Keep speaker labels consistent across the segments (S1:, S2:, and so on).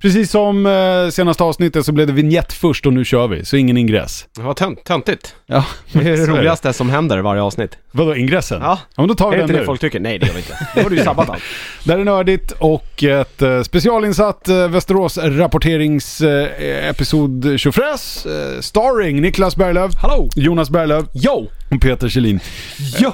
S1: Precis som eh, senaste avsnittet så blev det vignett först och nu kör vi, så ingen ingress.
S2: Vad tönt, töntigt.
S1: Ja,
S2: Det är det roligaste som händer varje avsnitt.
S1: Vadå, ingressen?
S2: Ja.
S1: ja men då tar
S2: Är
S1: vi
S2: det
S1: den
S2: inte
S1: nu.
S2: det folk tycker? Nej, det gör vi inte. Då har du ju sabbat allt.
S1: Där är nördigt och ett eh, specialinsatt eh, Västerås rapporterings eh, episod tjofräs. Eh, starring Niklas Berglöf,
S2: Hallå!
S1: Jonas Berglöf
S2: Yo!
S1: och Peter Kjellin.
S2: Yo!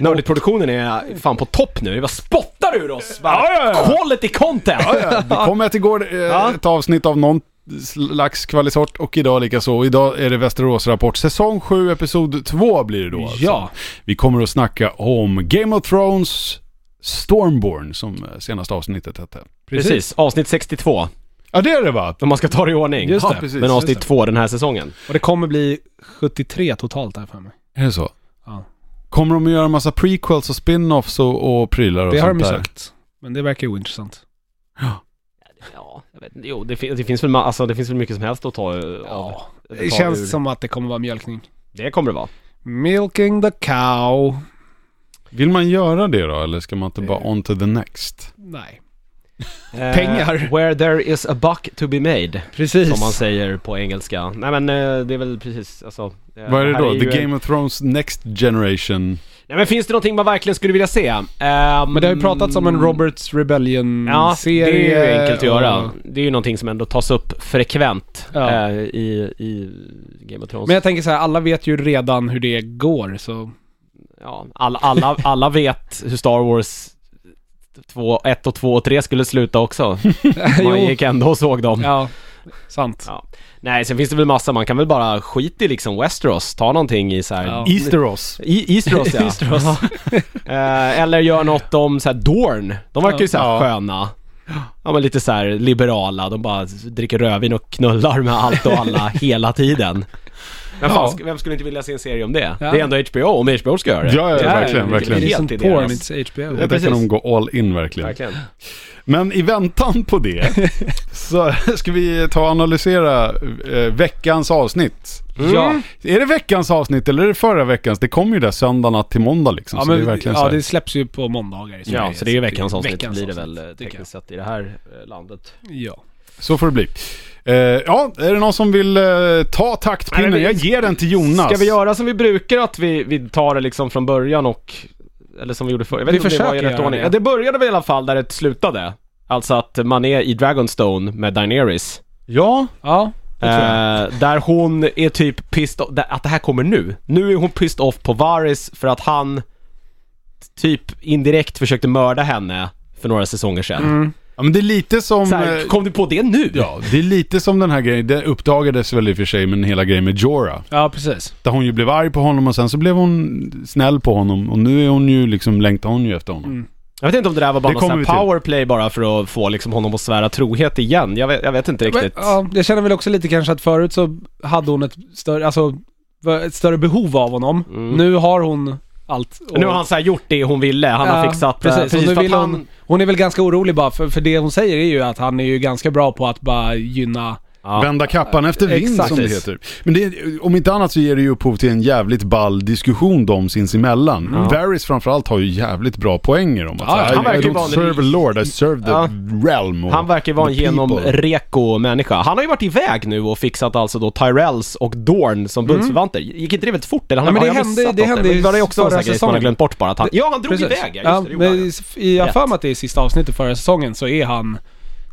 S2: Nördigt-produktionen är fan på topp nu. Vi bara spottar ur oss! Bara,
S1: Ja, ja, ja.
S2: Quality content!
S1: Det kom ett igår, eh,
S2: Ja.
S1: ett avsnitt av någon slags kvalisort och idag lika så. Och Idag är det Västerås Rapport säsong 7 episod 2 blir det då alltså.
S2: Ja.
S1: Vi kommer att snacka om Game of Thrones Stormborn som eh, senaste avsnittet hette.
S2: Precis. avsnitt 62.
S1: Ja det är det va?
S2: Om man ska ta det i ordning.
S1: Just det.
S2: Ja,
S1: Precis,
S2: Men avsnitt
S1: just det.
S2: 2 den här säsongen.
S3: Och det kommer bli 73 totalt här för mig.
S1: Är det så?
S3: Ja.
S1: Kommer de att göra massa prequels och spin-offs och, och prylar och
S3: Det har de
S1: sånt
S3: ju
S1: där?
S3: sagt. Men det verkar ju ointressant.
S2: Ja, jag vet inte. Jo, det, fin- det, finns väl, ma- alltså, det finns väl mycket som helst att ta eh, av.
S3: Det
S2: ta
S3: känns
S2: ur.
S3: som att det kommer vara mjölkning.
S2: Det kommer det vara.
S3: Milking the cow.
S1: Vill man göra det då eller ska man inte bara on to the next?
S3: Nej.
S2: Eh,
S3: Pengar.
S2: where there is a buck to be made.
S3: Precis.
S2: Som man säger på engelska. Nej men eh, det är väl precis, alltså, eh,
S1: Vad är det
S2: här
S1: då?
S2: ju
S1: The
S2: en-
S1: Game of Thrones Next Generation?
S2: Nej men finns det någonting man verkligen skulle vilja se? Ehm,
S3: Men det har ju pratats om en Roberts
S2: mm. Ja,
S3: Rebellion-serie.
S2: det är ju enkelt att göra.
S3: och-
S2: Det är ju någonting som ändå tas upp frekvent
S3: Ja.
S2: eh, i, i Game of Thrones.
S3: Men jag tänker så här, alla vet ju redan hur det går så...
S2: ja, alla, alla, alla vet hur Star Wars 2, 1 och 2 och 3 skulle sluta också. Man gick ändå och såg dem.
S3: Ja, sant.
S2: Ja. Nej, sen finns det väl massa, man kan väl bara skit i liksom Westeros, ta någonting i så här
S3: Ja.
S1: Easteros.
S2: I, Easteros ja. Eh, eller gör något om så här Dorn. De verkar ju så här
S1: Ja.
S2: sköna. Ja men lite så här liberala, de bara dricker rödvin och knullar med allt och alla hela tiden. Men fan,
S3: Ja.
S2: sk- vem skulle inte vilja se en serie om det?
S3: Ja.
S2: Det är ändå HBO, om HBO ska göra det.
S1: Ja, ja,
S2: Det är
S1: verkligen,
S2: ju
S1: verkligen.
S3: Det är
S2: helt alltså.
S3: som
S2: i
S3: porn,
S2: deras-
S3: it's HBO.
S1: Ja, där
S2: precis.
S1: kan de gå all in verkligen.
S2: Verkligen.
S1: Men i väntan på det så ska vi ta och analysera eh, veckans avsnitt.
S2: Mm.
S3: Ja.
S1: Är det veckans avsnitt eller är det förra veckans? Det kommer ju där söndag natt till måndag liksom.
S3: Ja,
S1: så
S3: men,
S1: det är verkligen så
S3: ja,
S1: här.
S3: det släpps ju på måndagar i
S2: Ja,
S3: Sverige,
S2: så det är ju veckans avsnitt
S3: veckans
S2: blir det väl
S3: avsnitt,
S2: eh,
S3: tycker jag.
S2: tekniskt sett i det här eh, landet.
S3: Ja.
S1: Så får det bli. Eh, ja, är det någon som vill eh, ta taktpinnen?
S2: Nej, men vi-
S1: Jag ger den till Jonas.
S2: Ska vi göra som vi brukar, att vi, vi tar det liksom från början och... Eller som vi gjorde förr. Jag vet
S3: Vi
S2: inte om det var i
S3: försöker
S2: rätt
S3: göra
S2: ordning.
S3: det.
S2: Ja, det började väl i alla fall där det slutade. Alltså att man är i Dragonstone med Daenerys.
S1: Ja.
S3: Ja, det tror jag.
S2: Eh, där hon är typ pissed off, där- att det här kommer nu. Nu är hon pissed off på Varys för att han typ indirekt försökte mörda henne för några säsonger sedan.
S3: Mm.
S1: ja, men det är lite som...
S2: Så
S1: eh,
S2: här, kom du på det nu?
S1: Ja, det är lite som den här grejen, det uppdagades väl i och för sig men hela grejen med Jorah.
S3: Ja, precis.
S1: Där hon ju blev arg på honom och sen så blev hon snäll på honom och nu är hon ju liksom, längtar hon ju efter honom.
S2: Jag vet inte om det där var bara
S1: Det
S2: någon
S1: kommer
S2: sån
S1: vi
S2: här
S1: till.
S2: powerplay bara för att få liksom honom att svära trohet igen. Jag vet, jag vet inte
S3: Men,
S2: riktigt.
S3: ja, jag känner väl också lite kanske att förut så hade hon ett större, alltså, ett större behov av honom. Nu har hon allt. och-
S2: Mm. Nu har han så här gjort det hon ville, han har
S3: Ja,
S2: fixat... eh,
S3: precis. Och nu
S2: för att
S3: vill
S2: han,
S3: hon, hon är väl ganska orolig bara, för, för det hon säger är ju att han är ju ganska bra på att bara gynna...
S2: Ja.
S1: Vända kappan efter vind
S3: Exakt.
S1: som det heter. Men det, är- om inte annat så ger det ju upphov till en jävligt ball diskussion de sinsemellan. Mm. Varys framförallt har ju jävligt bra poänger om att
S2: Ja,
S1: så här,
S2: han verkar
S1: I
S2: ju
S1: don't
S2: vara en
S1: serve a lord, I serve the
S2: Ja.
S1: realm. Och
S2: han verkar vara en
S1: the people.
S2: genomreko människa. Han har ju varit iväg nu och fixat alltså då Tyrells och Dorn som bundsförvanter. Gick inte det väldigt fort eller? Han,
S3: Ja, Mm.
S2: har
S3: men det
S2: jag
S3: hände-
S2: missat
S3: det
S2: något?
S3: hände
S2: Men
S3: i
S2: var det också en
S3: förra
S2: sån här grej som man har
S3: säsongen.
S2: glömt bort bara att han, Ja, han drog
S3: Precis.
S2: iväg ja,
S3: ja,
S2: just det, det,
S3: men
S2: gjorde han.
S3: i- i- Jag har
S2: Rätt.
S3: för mig att det är sista avsnittet förra säsongen så är han...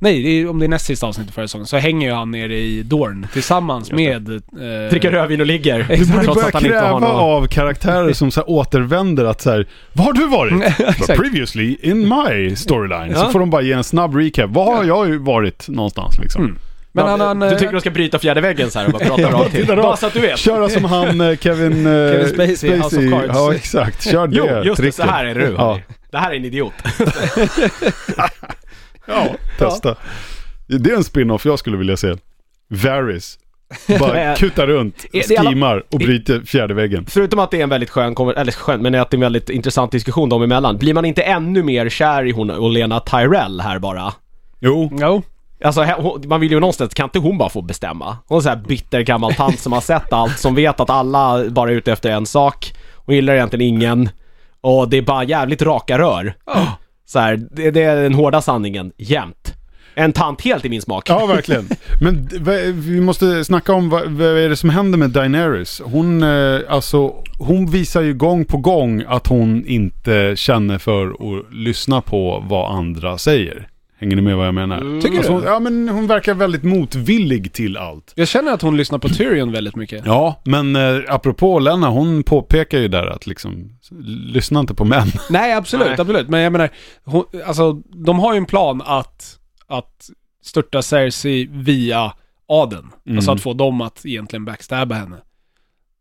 S3: Nej, det är, om det är näst sista avsnittet förra säsongen så hänger ju han nere i Dorn tillsammans med... Eh,
S2: Dricker rödvin och ligger.
S3: Du borde
S1: Du
S2: Trots
S1: börjar
S2: att han inte har
S1: kräva
S2: någon...
S1: av karaktärer som så här återvänder att så här, Var har du varit? But previously in my storyline. Så
S3: Ja.
S1: får de bara ge en snabb recap. Var har jag ju varit någonstans liksom?
S2: Mm.
S3: men han, han,
S2: Du
S3: eh,
S2: tycker de ska bryta fjärde väggen så här och bara prata rakt till. Bara så att du vet.
S1: Köra som han eh, Kevin, eh,
S3: Kevin Spacey i House of Cards.
S1: Ja exakt, kör det
S2: Jo, just det.
S1: tricket.
S2: Så här är du.
S1: Ja,
S2: hörni. Det här är en idiot.
S1: ja testa. Det är en spin-off jag skulle vilja se. Varys. Bara kutar runt,
S2: det alla-
S1: skimar och bryter fjärde väggen.
S2: Förutom att det är en väldigt skön, konver- eller skön, men att det är en väldigt intressant diskussion dem emellan. Blir man inte ännu mer kär i hon och Lena Tyrell här bara?
S1: Jo,
S3: Jo.
S2: Alltså he- hon- man vill ju någonstans, kan inte hon bara få bestämma? Hon är så här bitter gammal tant som har sett allt, som vet att alla bara är ute efter en sak. Hon gillar egentligen ingen. Och det är bara jävligt raka rör. Så här, det, det är den hårda sanningen, jämt. En tant helt i min smak.
S1: Ja, verkligen. Men d- v- vi måste snacka om vad, vad är det som händer med Daenerys. Hon, eh, alltså, hon visar ju gång på gång att hon inte känner för att lyssna på vad andra säger. Hänger ni med vad jag menar?
S3: Tycker
S1: Alltså,
S3: du?
S1: hon, ja, men hon verkar väldigt motvillig till allt.
S3: Jag känner att hon lyssnar på Tyrion väldigt mycket.
S1: Ja, men eh, apropå Lena, hon påpekar ju där att liksom, lyssna inte på män.
S3: Nej, absolut,
S2: Nej.
S3: absolut. Men jag menar, hon, alltså, de har ju en plan att, att störta Cersei via adeln.
S1: Mm.
S3: Alltså att få dem att egentligen backstabba henne. Så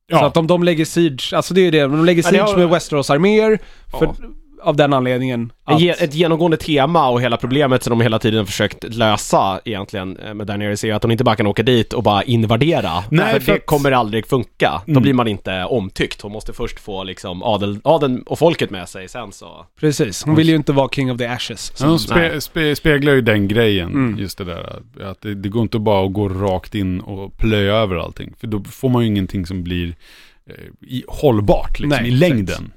S1: Ja,
S3: att om de lägger siege, alltså det är ju det, de lägger
S2: Ja, det
S3: siege
S2: har-
S3: med Westeros arméer för,
S2: Ja.
S3: av den anledningen
S2: En
S3: att...
S2: ge- Ett genomgående tema och hela problemet som de hela tiden försökt lösa egentligen eh, med Daenerys är ju att de inte bara kan åka dit och bara invadera.
S1: Nej,
S2: Nej, för
S1: för
S2: det
S1: att-
S2: kommer aldrig funka. Då
S1: Mm.
S2: blir man inte omtyckt. Hon måste först få liksom adel, adeln och folket med sig sen så.
S3: Precis, hon vill
S2: Mm.
S3: ju inte vara king of the ashes.
S1: men
S3: Som,
S1: hon spe, spe, speglar ju den grejen,
S2: Mm.
S1: just det där. Att det, det går inte bara att gå rakt in och plöja över allting. För då får man ju ingenting som blir eh, i, hållbart liksom,
S3: Nej,
S1: i
S3: exakt.
S1: längden.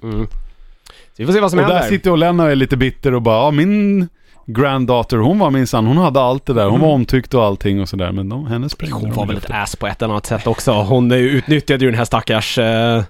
S2: Så vi får se vad som
S1: Och där
S2: händer.
S1: sitter Olenna och är lite bitter och bara, ja min granddaughter, hon var minsann, hon hade allt det där. Hon var omtyckt och allting och sådär. Men de, henne sprängde
S2: Mm. Hon
S1: de
S2: var
S1: ju
S2: väl ett
S1: efter.
S2: ass på ett eller annat sätt också. Hon eh, utnyttjade ju den här stackars... eh, eh,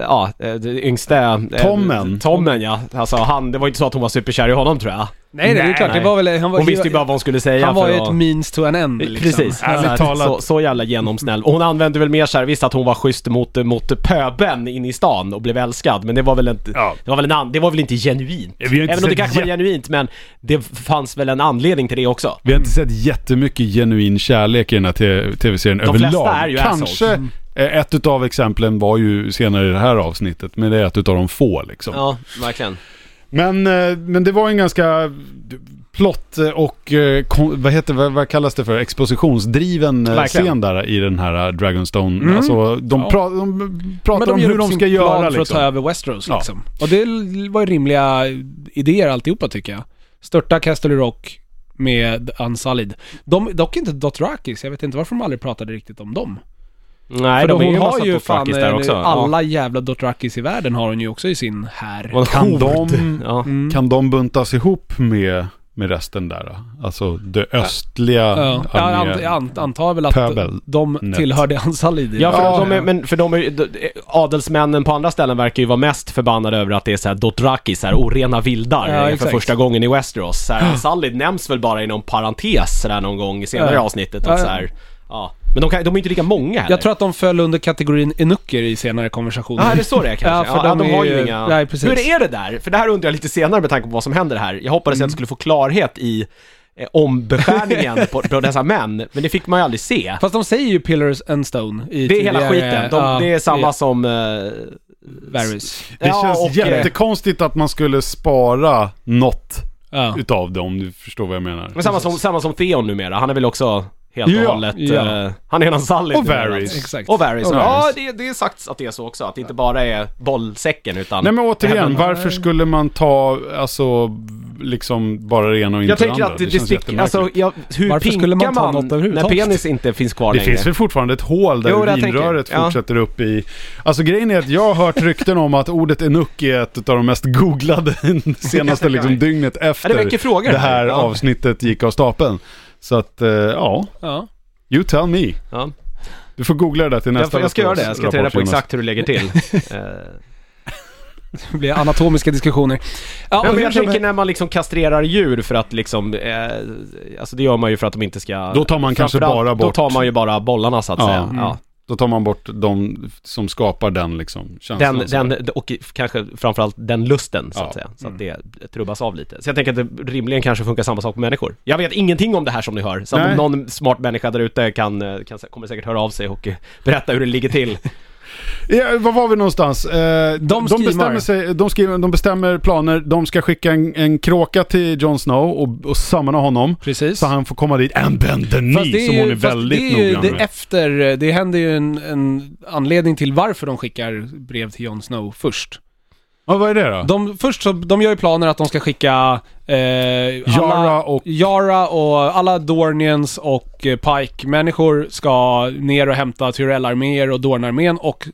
S2: Ja, eh, det yngste... eh,
S1: Tommen.
S2: Tommen ja. Alltså han, det var inte så att hon var superkär i honom tror jag.
S3: nej, nej, det är klart,
S2: nej.
S3: det var väl... Han var,
S2: Hon visste ju bara vad hon skulle säga
S3: Han var
S2: för
S3: ju
S2: att-
S3: ett means to an end liksom.
S2: Precis,
S1: Ärligt
S2: så,
S1: talat.
S2: så, så jävla genomsnäll. Och hon använde väl mer såhär, visst att hon var schysst mot, mot pöben inne i stan och blev älskad, men det var väl inte,
S1: Ja.
S2: det, var väl en an, det var väl inte genuint?
S1: Vi har inte
S2: Även om det
S1: sett
S2: kanske var
S1: jä-
S2: genuint, men det fanns väl en anledning till det också.
S1: Vi har inte
S3: Mm.
S1: sett jättemycket genuin kärlek i den här te- tv-serien
S2: De
S1: överlag.
S2: flesta är ju
S1: Kanske
S3: Mm.
S2: assholes.
S1: eh, ett utav exemplen var ju senare i det här avsnittet, men det är ett utav de få liksom.
S2: Ja, verkligen.
S1: Men, eh, men det var en ganska plott och eh, kon- vad, heter, vad, vad kallas det för? Expositionsdriven eh,
S2: Verkligen.
S1: scen där i den här eh, Dragonstone.
S3: Mm.
S1: Alltså, de,
S3: Ja.
S1: pra- de pratar
S3: Men de
S1: om
S3: gör
S1: hur
S3: upp
S1: de
S3: sin
S1: ska göra
S3: plan för att ta
S1: liksom.
S3: över Westeros
S1: Ja.
S3: liksom. Och det l- var ju rimliga idéer alltihopa tycker jag. Störta Castle Rock med Unsullied. De, dock inte Dothrakis, jag vet inte varför de aldrig pratade riktigt om dem.
S2: Nej,
S3: För
S2: de
S3: hon
S2: är ju
S3: har ju fan
S2: Dothrakis där
S3: eh,
S2: också. Ja.
S3: alla jävla Dothrakis i världen har hon ju också i sin här.
S2: Och en
S1: Kan
S2: hord.
S1: de-
S2: Ja.
S3: Mm.
S1: Kan de buntas ihop med, med resten där? då? Alltså det östliga
S3: Ja. Jag
S1: armén.
S3: ant, jag ant, antar väl att
S1: Pöbel.
S3: de
S1: Nät.
S3: tillhörde Unsullied. i
S2: Ja, för
S3: alla fall.
S2: de är, men för de är, ju- d- adelsmännen på andra ställen verkar ju vara mest förbannade över att det är såhär Dothrakis, såhär orena vildar
S3: Ja,
S2: eh, för
S3: exakt.
S2: första gången i Westeros. Såhär, Sallid nämns väl bara i någon parentes sådär någon gång i senare
S3: Ja.
S2: avsnittet.
S3: Ja,
S2: Och
S3: ja.
S2: såhär, ja. Men de, kan, de är ju inte lika många heller.
S3: Jag tror att de föll under kategorin enucker i senare konversationer.
S2: Ja, är det så det är kanske?
S3: Ja, för
S2: Ja, de,
S3: de är
S2: har ju
S3: ju-
S2: inga...
S3: Nej, precis.
S2: Hur är det där? För det här undrar jag lite senare med tanke på vad som händer här. Jag hoppades att
S3: Mm.
S2: jag skulle få klarhet i eh, om beskärningen på, på dessa män, men det fick man ju aldrig se.
S3: Fast de säger ju Pillars and Stone i
S2: Det är hela
S3: tidigare-
S2: skiten. De,
S3: ja,
S2: det är samma som... eh,
S3: Varys.
S1: Det
S2: ja,
S1: känns
S2: och, eh,
S1: jättekonstigt att man skulle spara något
S3: Ja.
S1: utav det om du förstår vad jag menar.
S2: Men samma som, samma som Theon numera, han är väl också helt
S1: Ja,
S2: och hållet...
S3: ja.
S2: eh, han är en Sally
S1: Och Varys.
S3: Exakt.
S2: Och Varys.
S1: Och
S2: Ja,
S1: Varys.
S2: det, det är sagt att det är så också, att det inte bara är bollsäcken utan...
S1: Nej men återigen,
S2: Även-
S1: varför skulle man ta, alltså, liksom bara det ena och inte
S2: jag
S1: det
S2: tänker
S1: andra?
S2: att det, det
S1: känns
S2: sticker,
S1: jättemärkligt.
S2: alltså jag, hur
S3: Varför
S2: pinkar
S3: skulle man ta något
S2: när
S3: överhuvudtaget?
S2: penis inte finns kvar
S1: Det
S2: längre?
S1: finns väl fortfarande ett hål där
S2: Jo, det jag
S1: urinröret
S2: tänker. Ja.
S1: fortsätter upp i... Alltså grejen är att jag har hört rykten om att ordet enuck är ett av de mest googlade senaste liksom, dygnet
S2: Ja,
S1: efter
S2: det väcker frågor.
S1: det här
S2: ja.
S1: avsnittet gick av stapeln. Så att, eh, ja,
S3: Ja.
S1: you tell me.
S2: Ja.
S1: Du får googla det där till
S2: Jag,
S1: nästa
S2: får- jag ska göra det, jag ska ta reda på
S1: rapportjournal.
S2: exakt hur du lägger till. Eh,
S3: Det blir anatomiska diskussioner. Ja,
S2: Nej,
S3: och
S2: men jag
S3: hur som-
S2: tänker när man liksom kastrerar djur för att liksom, eh, alltså det gör man ju för att de inte ska...
S1: Då tar man kanske
S2: framförallt-
S1: bara bort-
S2: Då tar man ju bara bollarna så att
S1: Ja.
S2: säga.
S1: Mm.
S2: Ja.
S1: Då tar man bort de som skapar den liksom, känslan.
S2: den,
S1: så här.
S2: den, och kanske framförallt den lusten så
S1: Ja. Mm.
S2: att säga. Så att det trubbas av lite. Så jag tänker att det rimligen kanske funkar samma sak på människor. Jag vet ingenting om det här som ni hör, så att
S1: Nej.
S2: om någon smart människa där ute kan, eh, kan, kommer säkert höra av sig och eh, berätta hur det ligger till.
S1: Ja, var var vi någonstans? Eh, de, de,
S3: skriver.
S1: bestämmer sig, de, skriver, de bestämmer planer, de ska skicka en, en kråka till Jon Snow och, och samla honom.
S3: Precis.
S1: Så han får komma dit, and bend the
S3: Fast
S1: knee, som hon är väldigt
S3: det är ju
S1: noggrann
S3: det
S1: med.
S3: efter, det händer ju en, en anledning till varför de skickar brev till Jon Snow först.
S1: Ja, vad är det då?
S3: De, först så, de gör ju planer att de ska skicka eh,
S1: Yara
S3: alla,
S1: och-
S3: Yara och alla Dornians och eh, Pike-människor ska ner och hämta Tyrell-arméer och Dorn-armén och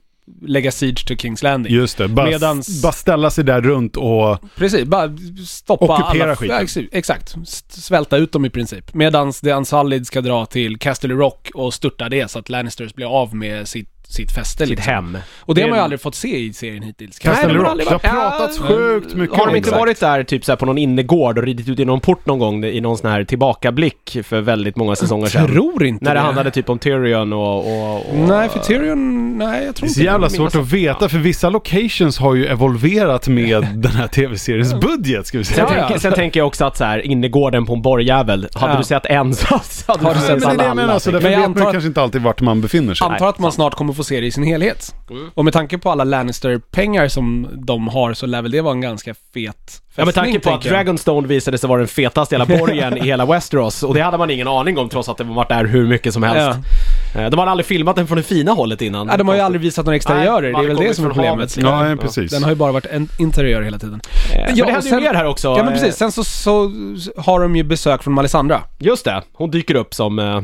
S3: lägga siege till Kings Landing.
S1: Just det, bara,
S3: Medans-
S1: bara ställa sig där runt och...
S3: Precis, bara stoppa
S1: Ockupera
S3: alla...
S1: skiten.
S3: Ja, ex- Exakt, S- svälta ut dem i princip. Medan The Unsullied ska dra till Castle Rock och störta det så att Lannisters blir av med sitt, sitt fäste
S2: Sitt
S3: liksom.
S2: hem.
S3: Och det har
S2: Det-
S3: man ju aldrig fått se i serien hittills.
S2: Nej,
S1: Castle
S2: de har
S1: Rock.
S2: aldrig
S1: Det har
S2: varit-
S1: pratats
S2: Ja,
S1: sjukt mycket
S2: Har
S1: om
S2: de inte
S1: det.
S2: varit där typ så här på någon innergård och ridit ut i någon port någon gång i någon sån här tillbakablick för väldigt många säsonger
S3: Jag
S2: sedan?
S3: tror inte
S2: När det
S3: det.
S2: handlade typ om Tyrion och... och, och
S3: Nej, för Tyrion... Nej, jag
S1: Det
S3: tror
S1: är
S3: inte
S1: så jävla
S3: det.
S1: svårt att veta för vissa locations har ju evolverat med den här tv-seriens budget ska vi
S2: Sen,
S1: säga.
S3: Ja, ja.
S2: tänker, sen tänker jag också att så här, innergården på en borgjävel, hade
S3: Ja.
S2: du sett en så så hade
S3: Har
S2: du
S1: Men
S2: sett
S3: du
S1: det är det
S2: alla
S1: jag menar,
S2: andra.
S1: alltså, därför
S3: Men jag
S1: vet man
S3: antar
S1: ju
S3: att-
S1: kanske inte alltid vart man befinner sig.
S3: Antar att man snart kommer få se det i sin helhet. Och med tanke på alla Lannister-pengar som de har så lär väl det vara en ganska fet fästning,
S2: Ja med tanke på att
S3: tänker jag.
S2: Dragonstone visade sig vara den fetaste hela borgen i hela Westeros och det hade man ingen aning om trots att det varit där hur mycket som helst. Eh, De hade aldrig filmat den från det fina hållet innan. Eh,
S3: Ja, de har ju aldrig visat några exteriörer,
S2: Nej,
S3: det är väl
S2: kommit
S3: det som är
S2: från havet,
S3: problemet.
S2: liksom.
S1: Ja, ja, precis.
S3: Den har ju bara varit en interiör hela tiden.
S2: Eh, Men
S3: Ja,
S2: det
S3: och
S2: hände ju
S3: sen-
S2: mer här också.
S3: Ja men
S2: eh,
S3: precis, sen så, så har de ju besök från Melisandra.
S2: Just det, hon dyker upp som... eh,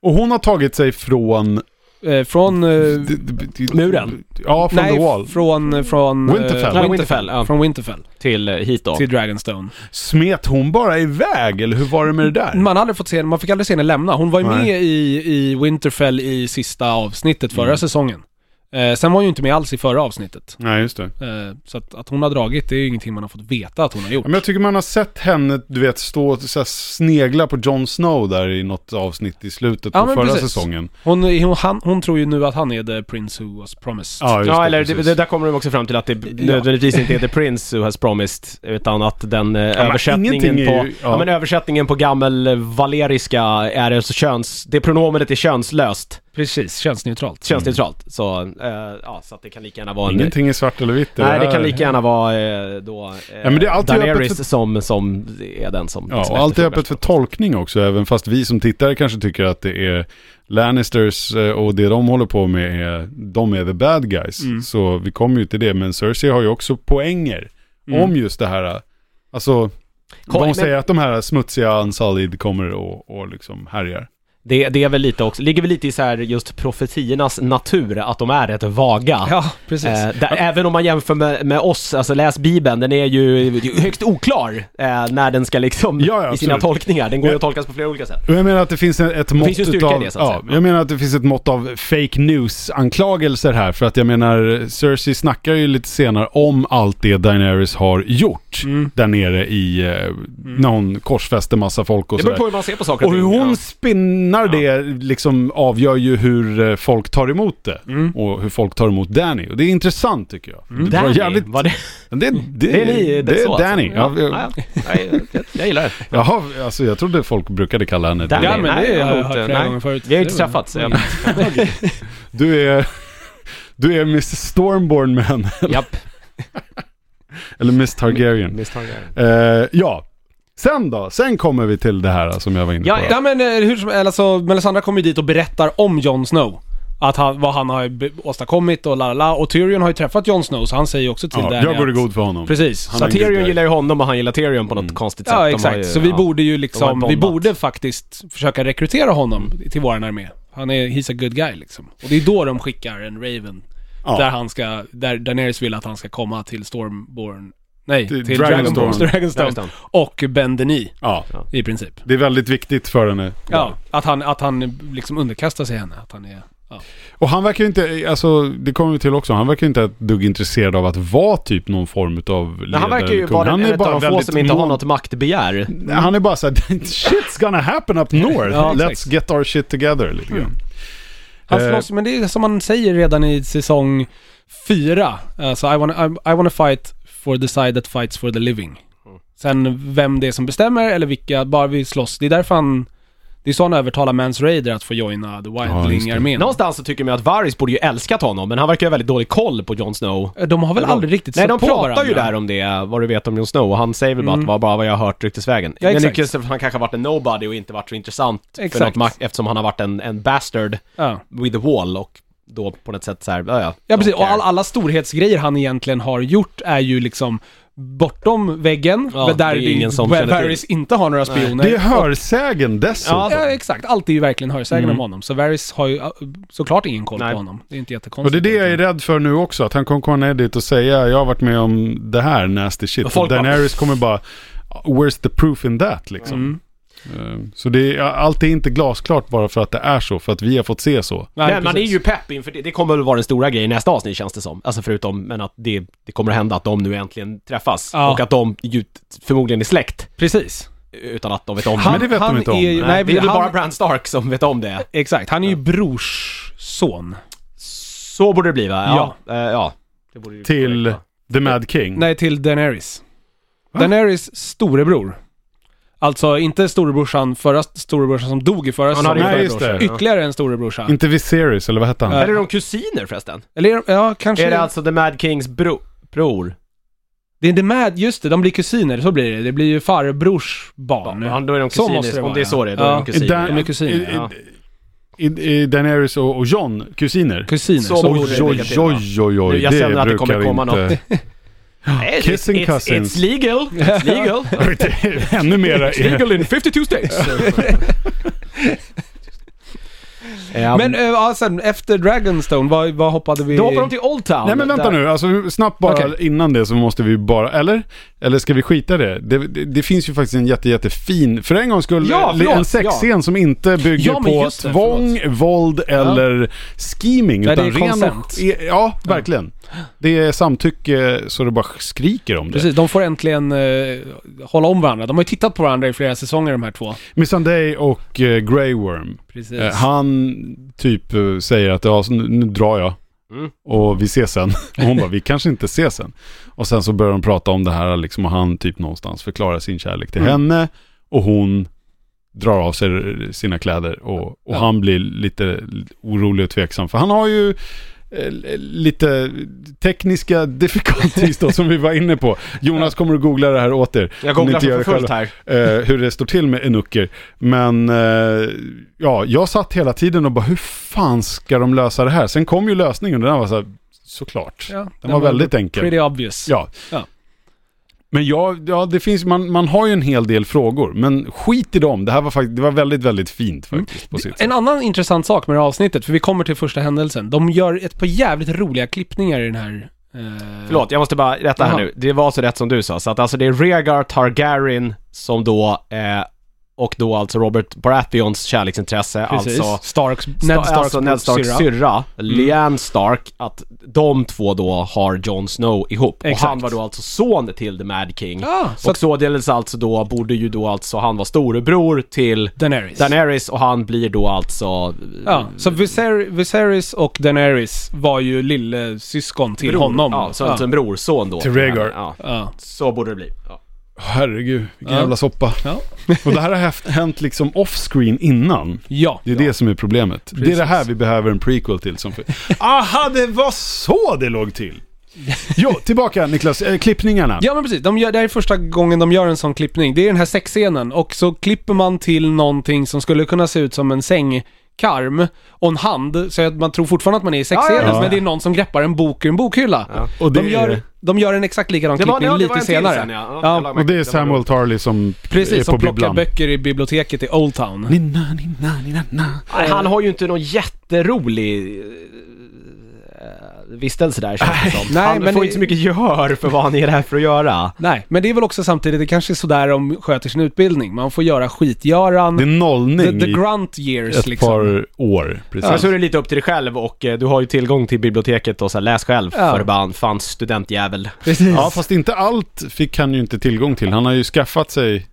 S1: Och hon har tagit sig från...
S3: Eh, från... Eh,
S1: d- d- d-
S2: Muren?
S1: Ja, från
S3: nej,
S1: The Wall.
S3: från... eh, från eh,
S1: Winterfell.
S2: Nej, Winterfell, ja.
S3: Från Winterfell
S2: till eh, hit då.
S3: till Dragonstone.
S1: Smet hon bara iväg eller hur var det med det där?
S3: Man, hade fått se, henne- man fick aldrig se henne lämna. Hon var ju
S1: Nej.
S3: med i, i Winterfell i sista avsnittet
S1: Mm.
S3: förra säsongen. Eh, sen var hon ju inte med alls i förra avsnittet.
S1: Nej, just det.
S3: Eh, så att, att hon har dragit, det är ju ingenting man har fått veta att hon har
S1: Ja,
S3: gjort.
S1: Men jag tycker man har sett henne, du vet, stå och så här, snegla på Jon Snow där i något avsnitt i slutet
S3: Ja,
S1: på
S3: men
S1: förra
S3: precis.
S1: säsongen.
S3: Hon, eh, hon, han, hon tror ju nu att han är the prince who was promised.
S1: Ja, just
S2: Ja,
S1: det,
S2: eller det,
S1: precis.
S2: det där kommer de också fram till att det nödvändigtvis inte är The Prince who has promised, utan att den eh,
S1: men
S2: översättningen
S1: ingenting är
S2: på...
S1: ju-
S2: ja.
S1: ja.
S2: men översättningen på gammal eh, valeriska är alltså köns... Det pronomenet är könslöst,
S3: Precis, könsneutralt.
S2: könsneutralt. Så, eh, ja, så att det kan lika gärna vara en...
S1: Ingenting är svart eller vitt.
S2: Nej, det
S1: här-
S2: kan lika gärna vara eh, då eh,
S1: Ja, men det är alltid
S2: Daenerys
S1: öppet för-
S2: som, som är den som...
S1: Ja,
S2: som
S1: och allt är
S2: efterfrågar.
S1: öppet för tolkning också, även fast vi som tittare kanske tycker att det är Lannisters eh, och det de håller på med är, de är the bad guys. Så vi kommer ju till det, men Cersei har ju också poänger om just det här. eh, Alltså,
S2: Kom,
S1: de
S2: men-
S1: säger att de här smutsiga Unsullied kommer och, och liksom härjar.
S2: Det, det är väl lite också, ligger väl lite i så här just profetiernas natur, att de är rätt vaga.
S3: Ja, precis.
S2: Eh, där, Även om man jämför med, med oss, alltså läs Bibeln, den är ju högst oklar eh, när den ska liksom,
S1: Ja, ja,
S2: i sina
S1: absolut.
S2: tolkningar. Den går ju att tolkas på flera olika sätt.
S1: Och Jag menar att det finns ett mått
S2: finns ju styrka
S1: utav,
S2: i det, så att
S1: ja,
S2: säga.
S1: jag menar att det finns ett mått av fake news-anklagelser här. För att jag menar, Cersei snackar ju lite senare om allt det Daenerys har gjort
S3: Mm.
S1: där nere i, eh, när hon korsfäster massa folk och
S2: Mm. Det beror
S1: sådär.
S2: på hur man ser på saker
S1: Och hur hon
S2: Ja.
S1: spinnar det liksom avgör ju hur eh, folk tar emot
S2: Mm.
S1: det.
S3: Mm.
S1: Och hur folk tar emot Danny. Och det är intressant tycker jag. Det var
S2: Danny,
S1: jävligt-
S2: var det,
S1: Det, det,
S2: det är ni,
S1: det är
S2: så
S1: Danny.
S2: Alltså.
S1: Ja,
S2: Ja, ja, jag, jag, jag gillar det.
S1: Jaha, alltså jag trodde folk brukade kalla henne
S2: Danny,
S3: Ja, men det
S2: nej,
S3: har jag
S2: inte-
S3: hört flera
S2: nej.
S3: gånger förut.
S2: Vi har ju inte
S3: Det var-
S2: träffats. eh, så jag-
S1: Du är... Du är Miss Stormborn med henne.
S2: Japp.
S1: Eller Miss Targaryen.
S2: Misstagar.
S1: Eh, ja. Sen då? Sen kommer vi till det här som jag var inne på.
S2: Ja,
S3: Ja men eh, hur som helst, alltså Melisandra kommer ju dit och berättar om Jon Snow. Att han, vad han har be- åstadkommit och lalala. Och Tyrion har ju träffat Jon Snow så han säger ju också till
S1: Ja,
S3: Danny
S1: jag går i
S3: att-
S1: god för honom.
S3: Precis.
S1: Han
S2: Så
S1: har en good
S2: Tyrion
S1: guy.
S2: gillar ju Mm. honom och han gillar Tyrion på något konstigt sätt.
S3: Ja
S2: De har
S3: exakt,
S2: ju-
S3: så vi
S2: ja.
S3: borde ju
S2: De har
S3: liksom, vi
S2: bondat.
S3: borde faktiskt försöka rekrytera honom till våran armé. Han är, he's a good guy liksom. Och det är då de skickar en Raven.
S1: Ja.
S3: Där han ska, där Daenerys vill att han ska komma till Stormborn. Nej,
S1: Till
S3: till,
S1: Dragonstone.
S3: Dragonborn, Dragonstone.
S2: Dragonstone.
S3: Och Ben Denis
S1: Ja,
S3: i princip.
S1: det är väldigt viktigt för henne.
S3: Ja, att han, att han liksom underkastar sig henne. Att han är... Ja.
S1: Och han verkar ju inte, alltså det kommer vi till också, han verkar ju inte ett dugg intresserad av att vara typ någon form utav ledare
S2: Men han verkar
S1: eller
S2: ju
S1: kung.
S2: vara
S1: han
S2: en av Mm. de få
S1: väldigt
S2: som inte har
S1: mån-
S2: något maktbegär.
S1: Nej, Han är bara såhär, shit's gonna happen up north.
S3: Ja, exakt.
S1: Let's get our shit together lite
S2: Mm.
S1: grann.
S3: Han
S1: Eh.
S3: slåss, men det är som man säger redan i säsong fyra. Alltså, I wanna, I, I wanna fight for the side that fights for the living.
S2: Mm.
S3: Sen vem det är som bestämmer eller vilka, bara vi slåss. Det är därför han... Det är så han övertalar Mans Raider att få joina the
S2: Mm.
S3: Wildling-armén.
S2: Någonstans så tycker man ju att Varys borde ju älskat honom, men han verkar ju ha väldigt dålig koll på Jon Snow.
S3: Eh, de har väl aldrig riktigt
S2: Nej,
S3: stött
S2: de
S3: på
S2: pratar
S3: varandra. Mm.
S2: ju där om det, vad du vet om Jon Snow, och han säger väl bara att det var bara vad jag har hört ryktesvägen.
S3: Ja,
S2: men
S3: exakt.
S2: Nyckelsen, han kanske har varit en nobody och inte varit så intressant för något
S3: Exakt.
S2: makt, eftersom han har varit en, en bastard
S3: Ja.
S2: with the wall och då på något sätt så här, ja ja.
S3: Ja precis,
S2: don't
S3: och
S2: care.
S3: all, alla storhetsgrejer han egentligen har gjort är ju liksom bortom väggen,
S2: Ja,
S3: där
S2: det är
S3: det
S2: ingen som
S3: Bar-
S2: känner till.
S3: Varys inte har några spioner.
S1: Det är
S3: Och-
S1: hörsägen dessutom.
S3: Ja, exakt. Allt är ju verkligen hörsägen
S2: Mm.
S3: om honom. Så Varys har ju äh, såklart ingen koll
S2: Nej.
S3: på honom. Det är inte
S1: Och
S3: jättekonstigt.
S1: det är det jag är rädd för nu också, att han kommer komma ner dit och säga jag har varit med om det här nasty shit.
S2: Och
S1: Och
S2: folk bara-
S1: Daenerys kommer bara, where's the proof in that liksom.
S3: Mm.
S1: Eh, Så det är, allt är inte glasklart bara för att det är så, för att vi har fått se så.
S3: Nej,
S2: men man är
S3: precis.
S2: ju pepp inför det. Det kommer väl vara den stora grejen i nästa avsnitt känns det som. Alltså förutom, men att det, det kommer att hända att de nu äntligen träffas.
S3: Ja.
S2: Och att de ju, förmodligen är släkt.
S3: Precis.
S2: Utan att de vet om
S1: Han-
S2: det.
S1: det vet de inte om.
S3: Är ju,
S2: Nej,
S3: nej,
S2: det är väl
S3: han,
S2: bara Bran Stark som vet om det.
S3: Exakt, han är ju
S2: Mm.
S3: brorsson.
S2: Så borde det bli va? Ja. Ja. Eh, ja. Det borde ju
S1: Till-
S2: korrekt, va?
S1: The Mad King.
S3: Nej, till Daenerys.
S1: Va?
S3: Daenerys storebror. Alltså inte storebrorsan, förra storebrorsan som dog i förra
S2: Han hade ju
S1: Nej,
S2: förra
S1: just det.
S2: brorsan. Ja.
S3: Ytterligare en storebrorsa.
S1: Inte Viserys, eller vad hette han?
S3: Nej.
S2: Eller är de kusiner förresten?
S3: Eller ja, kanske...
S2: Är det alltså The Mad Kings bro, bror?
S3: Det är The Mad, just det, de blir kusiner, så blir det. Det blir ju farbrors barn.
S2: Ja, då är de
S3: Så måste
S2: kusiner.
S3: det
S2: Om
S3: vara,
S2: det är så det är, då
S3: ja.
S2: är de
S1: I Dan-
S2: kusiner.
S3: är kusiner,
S1: i-
S2: ja.
S1: i- i Daenerys och, och John, kusiner.
S3: Kusiner.
S2: Så
S3: Så
S1: Oj,
S2: borde
S3: borde det.
S2: det
S1: oj,
S2: ligga till, va?
S1: oj, oj, oj.
S2: Jag känner att det
S1: brukar
S2: kommer komma
S1: inte-
S2: något. Nej, it's-
S1: Kissing
S2: it's,
S1: cousins.
S2: It's legal. It's legal.
S1: Ännu mera.
S2: It's legal in 52 states. Ja,
S3: Men eh, ja, sen efter Dragonstone, vad, vad hoppade vi...
S2: då hoppar de till Old Town.
S1: Nej men vänta
S2: Där-
S1: nu, alltså snabbt bara
S3: Okej.
S1: innan det så måste vi bara, eller? Eller ska vi skita i det? Det, det, det finns ju faktiskt en jätte, jättefin, för en gång skulle
S2: Ja, förlåt,
S1: en sexscen som inte bygger
S3: Ja, men
S1: på
S3: just det,
S1: tvång, våld eller scheming.
S3: Nej,
S1: utan
S3: det är
S1: ren och-
S3: consent.
S1: e- Ja, verkligen. Det är samtycke så det bara skriker om det.
S3: Precis, de får äntligen eh, hålla om varandra. De har ju tittat på varandra i flera säsonger de här två.
S1: Missandei och eh, Grey Worm.
S3: Precis.
S1: Eh, han typ eh, säger att ja, så nu, nu drar jag.
S2: Mm.
S1: Och vi ses sen. Och hon bara, vi kanske inte ses sen. Och sen så börjar de prata om det här liksom, och han typ någonstans förklarar sin kärlek till
S3: Mm.
S1: henne. Och hon drar av sig eh, sina kläder och, och
S3: Ja.
S1: han blir lite orolig och tveksam. För han har ju eh, lite tekniska difficulties då, som vi var inne på. Jonas kommer att googla det här åt er.
S2: Jag
S1: Om ni
S2: googlar
S1: inte gör
S2: för
S1: det
S2: fullt
S1: själva
S2: här.
S1: eh, hur det står till med enucker. Men eh, ja, jag satt hela tiden och bara hur fan ska de lösa det här? Sen kom ju lösningen och den var så här, såklart.
S3: Ja,
S1: Den var väldigt enkel.
S3: Pretty obvious.
S1: Ja.
S3: Ja.
S1: Men ja, ja det finns, man, man har ju en hel del frågor, men skit i dem. Det här var faktiskt, det var väldigt, väldigt fint faktiskt på sitt sätt.
S3: Mm. En annan intressant sak med det här avsnittet, för vi kommer till första händelsen. De gör ett par jävligt roliga klippningar i den här... Eh,
S2: Förlåt, jag måste bara rätta här
S3: Jaha.
S2: nu. Det var så rätt som du sa. Så att alltså det är Rhaegar Targaryen som då, eh, och då alltså Robert Baratheons kärleksintresse,
S3: Precis.
S2: alltså
S3: Starks, Ned
S2: Ned
S3: Starks,
S2: alltså Ned Starks
S3: syrra. Mm.
S2: syrra, Lyanne Stark, att de två då har Jon Snow ihop.
S3: Exakt.
S2: Och han var då alltså son till The Mad King.
S3: Ja, så
S2: och
S3: att
S2: således alltså då borde ju då alltså han vara storebror till
S3: Daenerys.
S2: Daenerys och han blir då alltså...
S3: Ja, så Viser- Viserys och Daenerys var ju lillesyskon till honom.
S2: Ja, så alltså en brorson då.
S1: Till Rhaegar.
S2: Ja,
S3: Ja.
S2: så borde det bli. Ja.
S1: Herregud, vilken
S3: Ja.
S1: jävla soppa.
S3: Ja.
S1: Och det här har haft- hänt liksom off-screen innan.
S3: ja.
S1: Det är det som är problemet. Det är det här vi behöver en prequel till. Som... Aha, det var så det låg till! Jo, tillbaka Niklas, eh, klippningarna.
S3: Ja men precis, de gör, det här är första gången de gör en sån klippning. Det är den här sexscenen och så klipper man till någonting som skulle kunna se ut som en sängkarm och en hand, så att man tror fortfarande att man är i sexscenen,
S2: Ja, ja, ja.
S3: men det är någon som greppar en bok ur en bokhylla.
S1: Och det
S3: De, gör,
S1: är,
S3: de gör en exakt likadan
S2: Det var-
S3: klippning
S2: ja, det var
S3: lite
S2: en till
S3: senare.
S2: sen, ja. Ja,
S3: Ja,
S2: jag la mig.
S1: och det är
S2: Det var
S1: Samuel Tarly som är
S3: precis,
S1: på
S3: som plockar
S1: bibblan.
S3: böcker i biblioteket i Old Town.
S1: Nina, nina, nina, na.
S2: Nej, Han har ju inte någon jätterolig eh, vistelse där känns det som.
S3: Nej,
S2: Han
S3: men
S2: får
S3: det-
S2: inte så mycket gehör för vad han är där för att göra.
S3: Nej, men det är väl också samtidigt, det kanske är sådär de sköter sin utbildning. Man får göra skitgöran.
S1: Det är
S3: The,
S1: nollning
S3: the
S1: i
S3: grunt years
S1: ett
S3: liksom.
S1: par år.
S2: Sen så
S1: Precis.
S2: är det lite upp till dig själv och eh, du har ju tillgång till biblioteket och så här, läs själv
S3: Ja.
S2: förbann, fan studentjävel.
S3: Precis.
S1: Ja, fast inte allt fick han ju inte tillgång till. Han har ju skaffat sig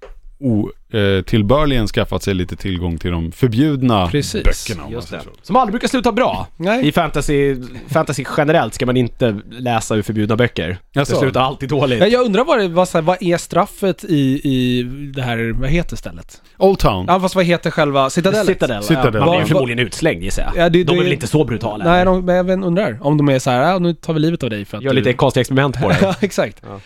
S1: otillbörligen skaffat sig lite tillgång till de förbjudna
S3: Precis.
S1: böckerna. om man
S2: Just
S1: säger
S2: det.
S1: så.
S2: Som aldrig brukar sluta bra.
S3: Nej.
S2: I fantasy, fantasy generellt ska man inte läsa ur förbjudna böcker.
S1: Jaså?
S2: Det slutar alltid dåligt.
S3: Ja, jag undrar vad, det, vad, så här, vad är straffet i, i det här, vad heter stället?
S1: Old Town.
S3: Ja fast vad heter själva citadellet?
S2: Citadel.
S1: Citadel.
S2: Ja, man blir ju
S3: Vad-
S2: förmodligen utslängd gissar jag.
S3: Ja, det-
S2: de är
S3: det-
S2: väl inte så brutala?
S3: Nej,
S2: eller?
S3: de, men jag vet- undrar om de är så här, ah, nu tar vi livet av dig för att
S2: Gör
S3: du...
S2: lite konstiga experiment på det.
S3: Ja, exakt.
S2: Ja.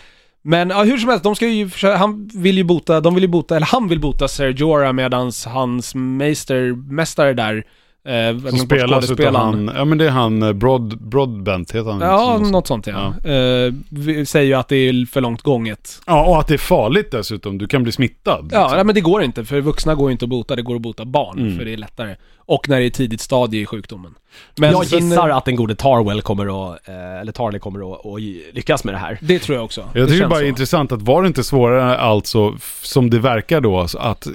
S3: Men ja, hur som helst, de ska ju försöka, han vill ju bota, de vill ju bota, eller han vill bota Ser Jorah medans hans meister, mästare där Eh,
S1: Som spelas utav han, ja men det är han eh, Broad, Broadbent heter han.
S3: Ja,
S1: Som-
S3: något sånt ja. Eh, vi säger ju att det är för långt gånget.
S1: ja, och att det är farligt dessutom, du kan bli smittad. liksom.
S3: Ja, nej, men det går inte. För vuxna går ju inte att bota. Det går att bota barn.
S1: Mm.
S3: För det är lättare. Och när det är tidigt stadie i sjukdomen. Men
S2: Jag
S3: sen-
S2: gissar att den gode Tarwell kommer att, eh, eller Tarley kommer att, att lyckas med det här.
S3: Det tror jag också.
S1: Jag tycker det
S3: känns
S1: är bara
S3: så.
S1: är intressant att var det inte svårare alltså, f- som det verkar då, alltså, att eh,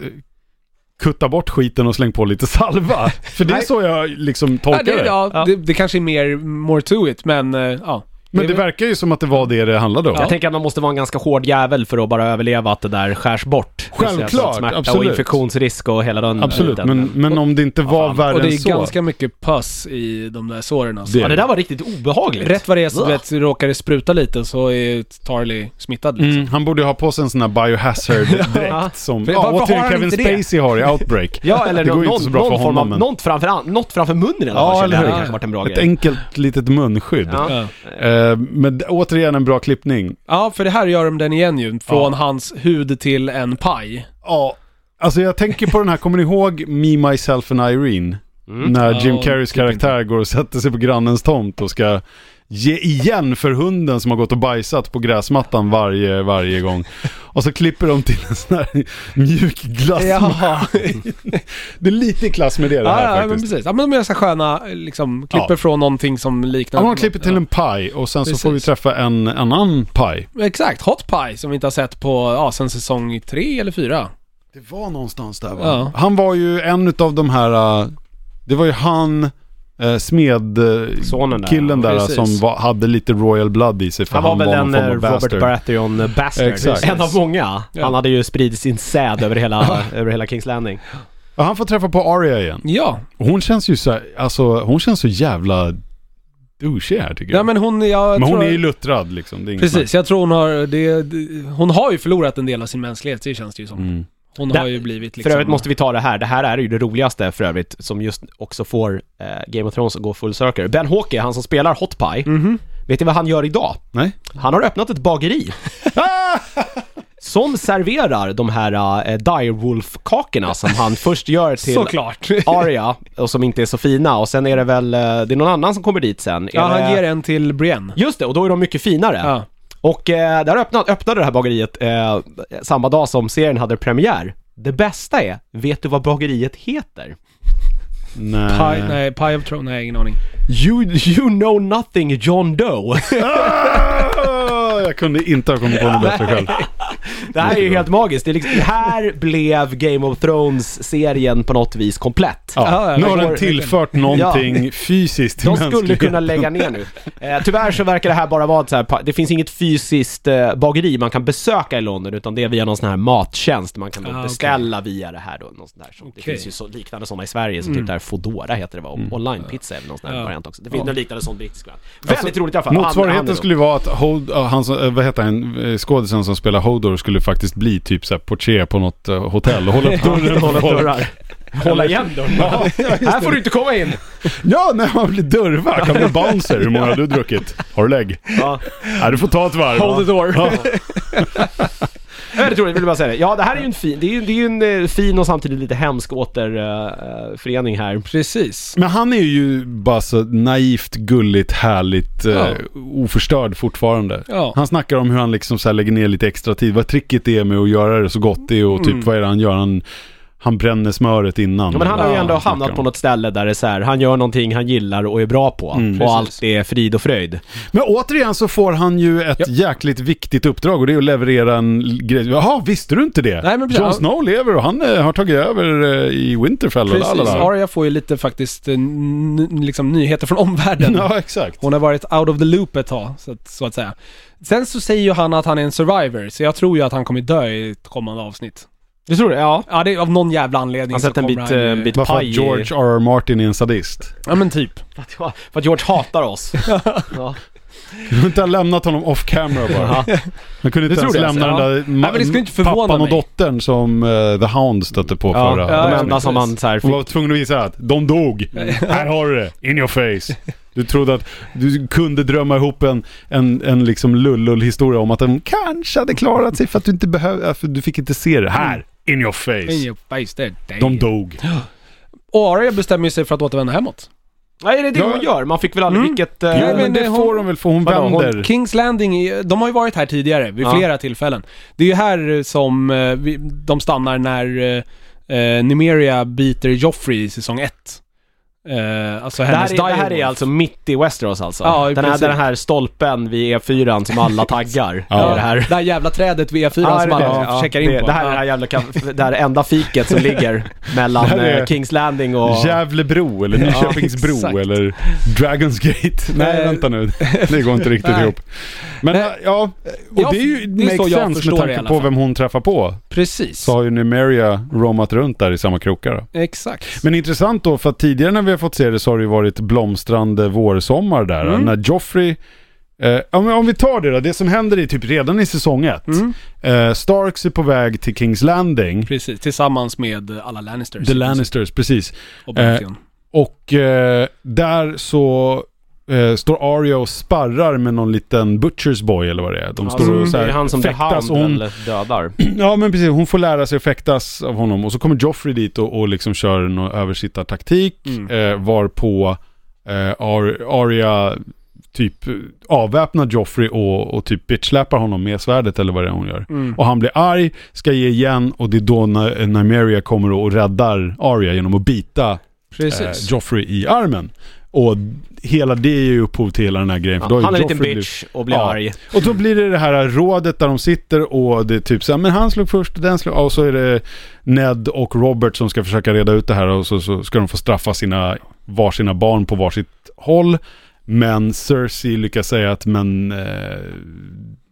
S1: kutta bort skiten och släng på lite salva? För det är
S2: Nej.
S1: så jag liksom
S3: Ja,
S1: tolkar
S3: det,
S1: det.
S3: ja,
S2: Ja.
S3: Det, det kanske är mer more to it, men eh, ja.
S1: Men
S3: Det
S1: det
S3: är väl-
S1: verkar ju som att det var det det handlade om.
S2: Jag tänker att man måste vara en ganska hård jävel för att bara överleva att det där skärs bort.
S1: Självklart,
S2: Alltså, smärta Och
S1: absolut.
S2: infektionsrisk och hela den
S1: Absolut,
S2: biten.
S1: men, men om det inte var värre
S3: Och det
S1: än
S3: är
S1: så.
S3: ganska mycket puss i de där såren alltså.
S1: Det-
S2: Ja, det där var riktigt obehagligt.
S3: Rätt vad det är så
S2: Ugh.
S3: du vet, råkar det spruta lite så är Tarly smittad liksom.
S1: Mm, han borde ju ha på sig en sån här biohazard
S2: Ja.
S1: direkt som...
S3: För-
S1: Ja,
S3: varför har
S1: återigen
S3: han
S1: Kevin
S3: inte det?
S1: Spacey har i Outbreak.
S2: Ja, eller
S1: Det går
S2: någon,
S1: ju inte så bra
S2: någon
S1: för
S2: form av,
S1: honom, men-
S2: något framför, an- något framför munnen i alla
S1: Ja,
S2: fall. känner
S1: eller
S2: jag. Det
S1: hur?
S2: hade kanske varit en bra
S1: Ett
S2: grej.
S1: enkelt litet munskydd.
S2: Ja.
S3: Ja.
S1: Eh, men d- återigen en bra klippning.
S3: ja, för det här gör de den igen ju. Från hans hud till en paj.
S1: Ja, alltså jag tänker på den här, kommer ni ihåg Me, Myself and Irene? När
S3: Ja,
S1: Jim Carreys
S3: typ
S1: karaktär går och sätter sig på grannens tomt och ska ge igen för hunden som har gått och bajsat på gräsmattan varje, varje gång. Och så klipper de till en sån här mjuk glass.
S3: Ja,
S1: Det är lite i klass med det, det här
S3: ja, ja men
S1: faktiskt.
S3: precis. Ja, men de gör så här sköna, liksom, klipper
S1: Ja.
S3: från någonting som liknar...
S1: Ja, man klipper till en paj och sen så får vi
S3: Precis.
S1: träffa en annan paj.
S3: Ja, Exakt, Hot Pie som vi inte har sett på, ja, sen säsong tre eller fyra.
S1: Det var någonstans där va?
S3: Ja.
S1: Han var ju en av de här, äh, det var ju han, äh, smed... äh,
S2: Sonen där.
S1: Killen där
S3: precis.
S1: som var, hade lite Royal Blood i sig för
S2: Han var väl
S1: någon form
S2: en
S1: av
S2: eh, Robert
S1: bastard.
S2: Baratheon eh, bastard.
S1: Exakt.
S2: En av många.
S3: Ja.
S2: Han hade ju spridit sin säd över hela, över hela Kings Landing.
S1: Ja, han får träffa på Arya igen.
S3: Ja,
S1: Och Hon känns ju så, här- alltså hon känns så jävla douchig här tycker jag.
S3: ja men hon, jag
S1: men
S3: tror...
S1: hon är ju luttrad liksom. Det är inget
S3: Precis, jag tror hon har, det, det- hon har ju förlorat en del av sin mänsklighet, det känns det ju som.
S1: snack. Mm.
S3: Hon
S2: Där-
S3: har ju blivit
S2: För
S3: liksom...
S2: övrigt måste vi ta det här. Det här är ju det roligaste för övrigt som just också får eh, Game of Thrones att gå full circle. Ben Hawke, han som spelar Hot Pie,
S3: Mhm.
S2: vet ni vad han gör idag?
S1: Nej?
S2: Han har öppnat ett bageri. som serverar de här eh, Direwolf-kakorna som han först gör till
S3: Såklart.
S2: Aria och som inte är så fina och sen är det väl, eh, det är någon annan som kommer dit sen. Är
S3: ja,
S2: det...
S3: han ger en till Brienne.
S2: Just det, och då är de mycket finare.
S3: Ja.
S2: Och eh, där öppnade, öppnade det här bageriet eh, samma dag som serien hade premiär. Det bästa är, vet du vad bageriet heter?
S1: Nej.
S3: Pie, nej, Pie of Throne, nej, ingen aning.
S2: You, you know nothing John Doe.
S1: Ah, jag kunde inte ha kommit på något bättre själv.
S2: det här är ju helt magiskt. Det är liksom, här blev Game of Thrones-serien på något vis komplett.
S1: Ja,
S3: ja,
S1: nu har
S3: det
S1: den
S3: går-
S1: tillfört någonting fysiskt till
S2: De skulle
S1: mänskligheten.
S2: kunna lägga ner nu. Eh, tyvärr så verkar det här bara vara ett så här, pa- det finns inget fysiskt eh, bageri man kan besöka i London utan det är via någon sån här mattjänst man kan då
S3: Ah, okej.
S2: beställa via det här då. Någon sån där. Så Det
S3: Okej. Mm.
S2: finns ju så, liknande sådana i Sverige som typ där Foodora heter det va? Online-pizza är väl någon sån här
S3: Ja.
S2: variant också. Det finns
S3: Ja. Alltså,
S2: någon liknande sån brittisk variant. Väldigt roligt i alla fall. Han- han
S1: Motsvarigheten
S2: är
S1: skulle ju vara att Hold, ja, han, som- eh, vad heter han, Eh, skådisen som spelar Hodor skulle faktiskt bli typ såhär portier på något eh, hotell och hålla upp dörren.
S2: då- Hålla
S1: för folk.
S2: dörrar. Hålla igen dörren. Här får du inte komma in!
S1: Ja, när man blir dörrvakt. Han blir bouncer. Hur många har du druckit? Har du lägg?
S2: Ja.
S1: Ja, du får ta ett varv.
S3: Hold the door.
S1: Ja.
S2: Väldigt roligt, vill jag bara säga det. Ja, det här är ju en fin, det är ju, det är ju en eh, fin och samtidigt lite hemsk återförening här.
S3: Precis.
S1: Men han är ju bara så naivt, gulligt, härligt, eh,
S3: Ja.
S1: oförstörd fortfarande.
S3: Ja.
S1: Han snackar om hur han liksom så här lägger ner lite extra tid. Vad tricket är med att göra det så gott det är och typ
S3: Mm.
S1: vad är det han gör? Han, han bränner smöret innan.
S2: Ja, men han har ju
S1: Ja,
S2: ändå
S1: snackar
S2: hamnat
S1: om.
S2: på något ställe där det är så här, han gör någonting han gillar och är bra på.
S1: Mm.
S2: och
S3: Precis.
S2: allt är frid och fröjd.
S1: Men återigen så får han ju ett
S3: Ja.
S1: jäkligt viktigt uppdrag och det är att leverera en l- grej. Jaha, visste du inte det?
S3: Nej, men precis.
S1: Jon Snow lever och han eh, har tagit över eh, i Winterfell och
S3: Precis.
S1: lalala.
S3: Arya får ju lite faktiskt eh, n- liksom nyheter från omvärlden.
S1: Ja, exakt.
S3: Hon har varit out of the loop ett tag, så att, så att säga. Sen så säger ju han att han är en survivor, så jag tror ju att han kommer dö i ett kommande avsnitt.
S2: Du tror det? Ja.
S3: Ja, det är av någon jävla anledning
S2: Han
S3: så
S2: sätter en
S3: kommer
S2: bit,
S3: han ju-
S2: en bit
S1: Varför att
S2: paj i-
S1: George R.R. Martin är en sadist.
S3: Ja men typ.
S2: För att, jag- för att George hatar oss. ja.
S1: Kunde inte ha lämnat honom off camera bara. Han kunde inte
S2: tror
S1: ens
S2: det,
S1: lämna
S3: alltså?
S1: den där ma-
S3: men det skulle inte förvåna
S1: pappan och
S3: mig.
S1: dottern som eh, The Hound stötte på
S2: Ja,
S1: förra
S2: de
S3: ja,
S2: enda
S1: avsnittet.
S2: som han så här
S1: Hon
S2: fick.
S1: var tvungen att visa att de dog. Här har du det, in your face. Du trodde att du kunde drömma ihop en, en, en liksom lullull-historia om att de kanske hade klarat sig för att du inte behövde, för du fick inte se det. Här, in your face.
S3: In your face, they're dead.
S1: De dog.
S3: Och Arya bestämmer ju sig för att återvända hemåt.
S2: Nej, är det det
S1: Ja.
S2: hon gör? Man fick väl aldrig
S3: Mm.
S2: vilket...
S1: Jo,
S2: eh,
S3: Nej,
S1: men
S3: men
S1: det
S3: hon-
S1: får hon väl för hon
S3: Vadå, hon-
S1: vänder.
S3: Kings Landing, är- de har ju varit här tidigare vid
S2: Ja.
S3: flera tillfällen. Det är ju här som eh, vi- de stannar när eh, eh, Nymeria biter Joffrey i säsong 1. Eh, alltså
S2: det,
S3: hennes
S2: här är, det här är
S3: direwolf.
S2: alltså mitt i Westeros alltså?
S3: Ja, i
S2: den, här,
S3: princip.
S2: den här stolpen vid E4 som alla taggar.
S1: Ja.
S2: Det här.
S3: Det här jävla trädet vid E4 som alla checkar in
S2: det,
S3: på.
S2: Det här är det här jävla kaf- det här enda fiket som ligger mellan
S1: Det här är-
S2: eh, Kings Landing och...
S1: Gävlebro eller Nyköpingsbro
S3: exakt.
S1: eller Dragons Gate. Nej,
S3: Nej.
S1: vänta nu. Det går inte riktigt
S3: Nej.
S1: ihop. Men
S3: Nej.
S1: ja, och
S3: Ja,
S1: det är ju
S3: det är så
S1: makes
S3: jag
S1: sense
S3: förstår
S1: med
S3: det i
S1: tanke
S3: alla
S1: på
S3: fall.
S1: vem hon träffar på.
S3: Precis.
S1: Så har ju Numeria roamat runt där i samma krokar. då.
S3: Exakt.
S1: Men intressant då, för att tidigare när vi har fått se det så har det ju varit blomstrande vårsommar där.
S3: Mm.
S1: När Joffrey... Eh, om, om vi tar det då, det som händer är typ redan i säsong ett.
S3: Mm.
S1: Eh, Starks är på väg till Kings Landing.
S3: Precis, tillsammans med alla Lannisters.
S1: The Lannisters, precis.
S3: Och Baratheon.
S1: Och eh, där så eh, står Arya och sparrar med någon liten butcher's boy eller vad det är. De står och så här
S2: det är han som blir
S1: fäktas
S2: hand
S1: och hon,
S2: eller dödar.
S1: Ja men precis, hon får lära sig att fäktas av honom. Och så kommer Joffrey dit och, och liksom kör någon översittartaktik.
S3: Mm.
S1: Eh, varpå eh, Ar- Arya typ eh, avväpnar Joffrey och, och typ bitchläpar honom med svärdet eller vad det är hon gör.
S3: Mm.
S1: Och han blir arg, ska ge igen och det är då när Nymeria kommer och räddar Arya genom att bita eh,
S3: Precis.
S1: Joffrey i armen. Och hela det är ju upphov till hela den här grejen. för då har
S2: han är
S1: ju
S2: en liten
S1: Joffrey blivit-
S2: bitch och blir
S1: Ja.
S2: arg.
S1: och då blir det det här rådet där de sitter och det är typ så här, men han slog först och den slog, och så är det Ned och Robert som ska försöka reda ut det här och så, så ska de få straffa sina, varsina barn på varsitt håll. Men Cersei lyckas säga att men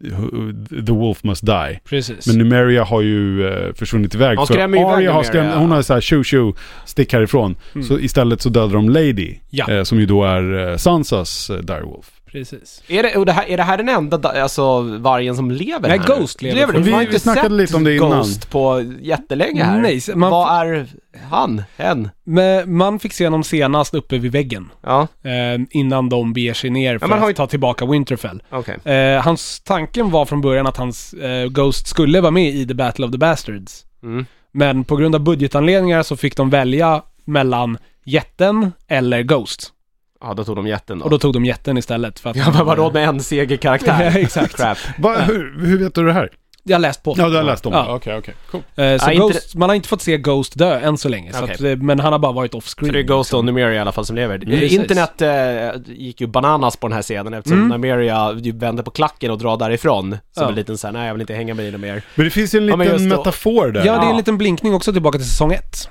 S1: eh, the wolf must die.
S3: Precis.
S1: Men Numeria har ju eh, försvunnit iväg.
S2: Hon
S1: så
S2: skrämmer ju iväg
S1: Arya har
S2: Numeria.
S1: skrämt, hon har så här tjo tjo, stick härifrån.
S3: Mm.
S1: Så istället så dödar de Lady,
S3: Ja.
S1: eh, som ju då är eh, Sansas eh, direwolf.
S3: Precis.
S2: Är det, och det, här, är det här den enda da- alltså, vargen som lever
S3: Nej,
S2: här?
S3: Ghost lever
S2: det?
S3: fortfarande.
S2: Man har
S1: Vi-
S2: inte
S1: vi snackade
S2: sett
S1: lite om det innan.
S2: Ghost på jättelänge här.
S3: Nej, så- man-
S2: Vad är han? Hen?
S3: Men man fick se honom senast uppe vid väggen.
S2: Ja,
S3: Eh, innan de beger sig ner för
S2: men har
S3: att
S2: ju-
S3: ta tillbaka Winterfell.
S2: okej.
S3: Eh, hans tanken var från början att hans eh, Ghost skulle vara med i The Battle of the Bastards.
S2: Mm.
S3: Men på grund av budgetanledningar så fick de välja mellan jätten eller Ghost.
S2: Ja, då tog de jätten då.
S3: Och då tog de jätten istället för att... Eh,
S2: Ja, men vadå med en segerkaraktär?
S3: Ja, exakt.
S2: Crap.
S1: Va, hur, hur vet du det här?
S3: Jag läst på.
S1: Ja, du har läst om det.
S3: Ja.
S1: Okej, okej. Cool.
S3: Eh, så
S2: Ja, inte
S3: Ghost, man har inte fått se Ghost dö än så länge. Så
S2: Okej.
S3: att, eh, men han har bara varit
S2: Så
S3: off-screen.
S2: det är Ghost och Numeria i alla fall som lever.
S3: Precis.
S2: Internet eh, gick ju bananas på den här scenen eftersom
S3: Mm.
S2: Numeria ju vände på klacken och drar därifrån. Som
S3: Ja.
S2: en liten såhär, nej jag vill inte hänga med dig mer.
S1: Men det finns ju en
S2: Ja, men
S1: liten
S2: just då.
S1: metafor där.
S3: Ja, det är en
S2: Ja.
S3: liten blinkning också tillbaka till säsong ett.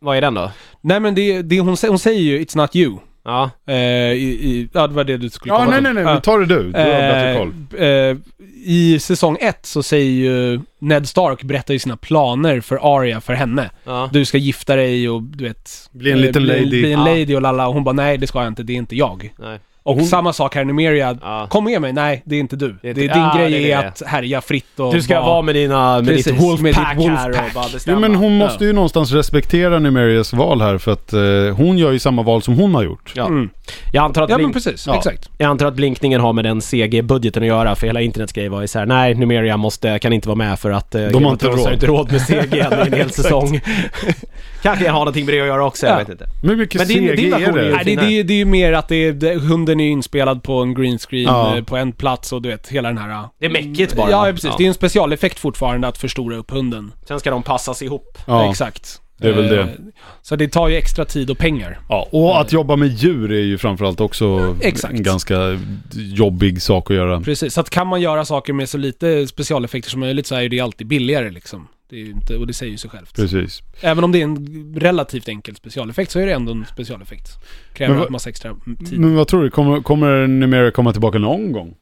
S2: Vad är den då?
S3: Nej men det, det hon, sä- hon säger ju 'It's not you'
S2: Ja,
S3: eh, i, i, ja, det var det du skulle
S1: Ja,
S3: komma
S1: nej,
S3: till.
S1: nej, nej.
S3: Ja.
S1: Men tar det du. Du har bättre koll.
S3: Eh, eh, I säsong ett så säger ju Ned Stark berättar ju sina planer för Arya för henne.
S2: ja.
S3: Du ska gifta dig och du vet...
S1: Bli en
S3: eh,
S1: liten lady.
S3: Bli, bli en
S2: Ja.
S3: lady och lalla. Och hon bara nej det ska jag inte, det är inte jag.
S2: nej.
S3: Och
S1: Hon-
S3: samma sak här Numeria.
S2: Ja.
S3: Kom med mig, nej det är inte du.
S2: Det
S3: Det
S2: är
S3: är
S2: inte-
S3: din
S2: ah,
S3: grej
S2: det är
S3: är
S2: det.
S3: att härja fritt och
S2: Du ska vara med dina, med
S3: Precis,
S2: ditt wolfpack
S3: med ditt
S2: här och
S3: wolfpack.
S2: bara bestämma.
S1: Jo, men hon måste ju någonstans respektera Numerias val här för att eh, hon gör ju samma val som hon har gjort.
S2: Ja.
S3: Mm.
S2: Jag, antar att
S3: Ja men
S2: blink...
S3: precis,
S1: Ja.
S3: exakt.
S2: jag antar att blinkningen har med den CG-budgeten att göra, för hela internets grej var ju såhär, nej Numeria måste, kan inte vara med för att eh, Game
S1: har
S2: of
S1: inte
S2: Thrones
S1: råd.
S2: inte råd med CG i en hel säsong. Kanske jag har någonting med det att göra också, jag
S3: Ja.
S2: vet inte.
S1: Men hur mycket
S2: Men din-
S1: CG
S2: din
S1: är
S2: version är
S1: det?
S2: ju-
S3: Nej, det, det, det är ju mer att det är, det, hunden är ju inspelad på en green screen
S1: Ja.
S3: eh, på en plats och du vet hela den här... ah.
S2: Det är mäckigt bara.
S3: Ja precis, det är ju en specialeffekt fortfarande att förstora upp hunden.
S2: Sen ska de passas ihop.
S1: Ja.
S3: Exakt.
S1: det är väl det.
S3: Eh, Så det tar ju extra tid och pengar.
S1: ja, och att jobba med djur är ju framförallt också
S3: Exakt.
S1: en ganska jobbig sak att göra.
S3: Precis, så att kan man göra saker med så lite specialeffekter som möjligt så är ju det alltid billigare liksom. Det är ju inte, och det säger ju sig självt.
S1: Precis.
S3: Även om det är en relativt enkel specialeffekt så är det ändå en specialeffekt. Kräver
S1: Men vad-
S3: en massa extra mm, tid.
S1: Men vad tror du, kommer, kommer Numeria komma tillbaka någon gång?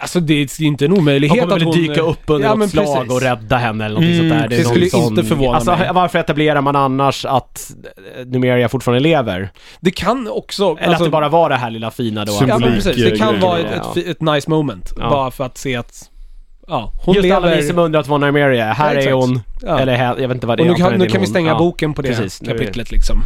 S3: Alltså det är ju inte en
S2: De
S3: omöjlighet
S2: kommer
S3: att
S2: väl
S3: hon... eh,
S2: dyka upp under
S3: Ja,
S2: något
S3: men
S2: slag
S3: precis.
S2: och rädda henne eller någonting
S1: Mm,
S2: sånt där.
S1: det
S2: någon
S1: skulle
S3: inte förvåna
S2: alltså,
S3: mig.
S2: Varför etablerar man annars att eh, Numeria fortfarande lever?
S3: Det kan också... alltså,
S2: Eller att det bara var det här lilla fina då?
S3: Ja, men
S1: Symbolik,
S3: precis.
S1: eh,
S3: Det
S1: grej.
S3: kan vara ett,
S2: Ja.
S3: ett, fi- ett nice moment.
S2: Ja.
S3: Bara för att se att... Ja, hon
S2: Just
S3: lever...
S2: alla ni som undrat vad Numeria är. Här
S3: Ja,
S2: är
S3: exakt.
S2: hon.
S3: ja.
S2: Eller här, jag vet inte vad det
S3: och
S2: är.
S3: nu kan,
S2: antagligen
S3: nu
S2: är
S3: kan vi
S2: hon.
S3: stänga
S2: Ja.
S3: boken på det
S2: Precis, nu är det-
S3: kapitlet liksom.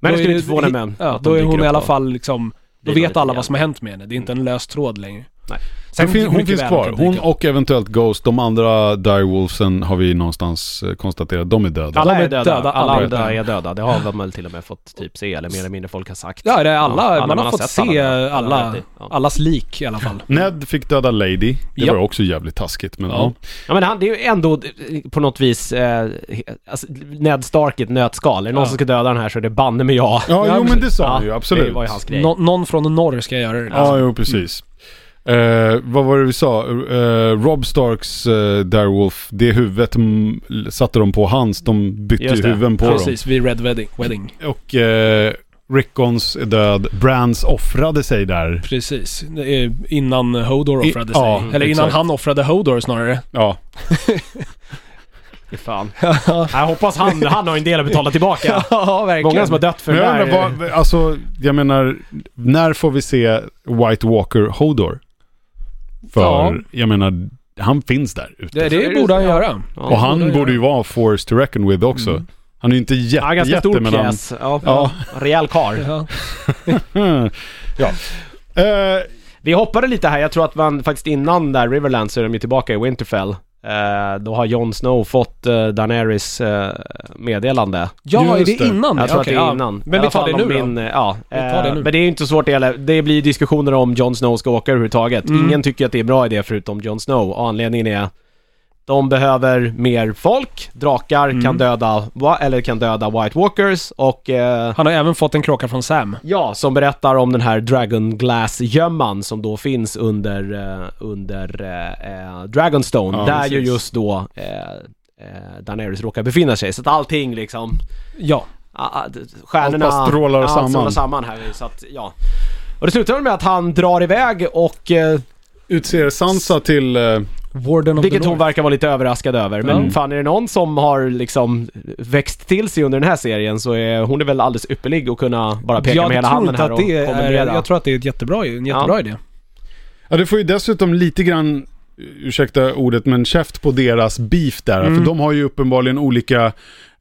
S2: Men
S3: Då
S2: det
S3: är
S2: skulle
S3: det-
S2: inte förvåna mig om
S3: Ja,
S2: att de
S3: då är
S2: dyker
S3: hon i
S2: upp
S3: alla
S2: då.
S3: fall liksom... Då
S2: Bidrar
S3: vet alla
S2: lite
S3: vad som har hänt med henne. Det är inte en lös tråd längre.
S2: Nej.
S1: Sen fin, hon
S2: mycket
S1: finns
S2: väl
S1: kvar.
S2: kan dyka
S1: Hon
S2: upp.
S1: och eventuellt Ghost. De andra Direwolfsen har vi någonstans eh, konstaterat. De är döda.
S2: alla
S3: de
S2: är
S3: är
S2: döda. alla
S3: döda, alla är
S2: andra
S3: döda.
S2: är döda. Det har man till och med fått typ se, eller mer eller mindre folk har sagt.
S3: Ja, det är alla,
S2: Ja,
S3: man, har fått
S2: sett
S3: se alla,
S2: Ja.
S3: allas lik i alla fall.
S1: Ned fick döda Lady. Det
S3: Ja.
S1: var också jävligt taskigt. Men, ja.
S3: Ja.
S2: Ja men han, det är ju ändå eh, på något vis, eh, he- alltså, Ned Stark i ett nötskal. Är det någon
S3: Ja.
S2: som ska döda den här så är det banne med jag.
S1: Ja,
S3: Ja,
S1: jo men
S3: precis.
S1: det sa han
S2: Ja,
S1: ju absolut.
S2: Det var ju hans Mm. grej.
S3: Nå- någon från norr ska göra det. liksom.
S1: Ja, jo precis. Eh, vad var det vi sa? Eh, Rob Starks eh, Direwolf, det huvudet mm, satte de på hans. De bytte
S2: Just
S1: ju
S2: det.
S1: huvuden på dem.
S3: Precis, vid Red Wedding. wedding.
S1: Och eh, Rickons är död. Brands offrade sig där.
S3: Precis. Det är Innan Hodor
S1: I-
S3: offrade sig.
S1: ja,
S3: Eller innan
S1: exakt.
S3: han offrade Hodor snarare.
S1: Ja,
S2: Fy Fan. Jag hoppas han, han har en del att betala tillbaka.
S3: ja, verkligen.
S2: Många som har dött för
S1: men
S2: den
S1: jag
S2: där.
S1: undrar vad, alltså jag menar, när får vi se White Walker Hodor? För,
S3: Ja.
S1: jag menar, han finns där ute.
S3: det, det borde han göra. Mm.
S2: Ja.
S1: Och han
S3: borde
S1: borde ju vara forced to reckon with också. Han är ju inte jätte,
S2: Mm. Ja, ganska
S1: jätte,
S2: stor
S1: men han,
S2: pjäs. Ja,
S1: Ja.
S2: Rejäl karl.
S3: Ja.
S1: Mm. ja. Eh,
S2: Vi hoppade lite här, jag tror att man faktiskt innan där Riverland så är de ju tillbaka i Winterfell. Eh, då har Jon Snow fått eh, Daenerys eh, meddelande.
S3: ja, är
S1: Just
S3: det
S1: det.
S3: innan?
S2: Jag tror
S3: Okej,
S2: att det är
S3: ja.
S2: innan. I
S3: Men vi
S2: alla
S3: tar
S2: fall
S3: det nu
S2: om
S3: då.
S2: min, eh, Ja,
S3: Vi tar det
S2: eh,
S3: nu.
S2: Men det är ju inte svårt det heller. Det blir diskussioner om Jon Snow ska åka överhuvudtaget.
S3: Mm.
S2: Ingen tycker att det är bra idé förutom Jon Snow. Och anledningen är de behöver mer folk. Drakar
S3: Mm.
S2: kan döda, va- eller kan döda White Walkers och eh,
S3: Han har även fått en kråka från Sam.
S2: Ja, som berättar om den här Dragon Glass-gömman som då finns under, eh, under eh, eh, Dragonstone.
S1: Ja,
S2: där
S1: precis.
S2: ju just då eh, eh, Daenerys råkar befinna sig. Så att allting liksom,
S3: Ja.
S2: ah, ah, d- stjärnorna...
S1: Allt bara strålar
S2: ja, allt
S1: samman.
S2: strålar samman här. Så att, ja. Och det slutar väl med att han drar iväg och, eh,
S1: utser Sansa till... eh,
S3: Warden of
S2: vilket
S3: the
S2: hon
S3: North.
S2: verkar vara lite överraskad över. Men
S1: Mm.
S2: fan är det någon som har liksom växt till sig under den här serien så är hon är väl alldeles ypperlig att kunna bara peka
S3: jag
S2: med hela
S3: tror
S2: handen
S3: inte
S2: här
S3: att det
S2: och
S3: är,
S2: kommendera.
S3: Jag tror att det är ett jättebra, en jättebra
S2: Ja.
S3: idé.
S1: ja, det får ju dessutom lite grann, ursäkta ordet, men käft på deras beef där. För de har ju uppenbarligen olika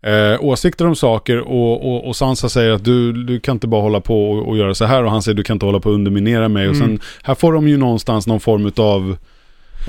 S1: eh, åsikter om saker och, och, och Sansa säger att du, du kan inte bara hålla på och, och göra så här och han säger du kan inte hålla på och underminera mig. Och sen, här får de ju någonstans någon form av...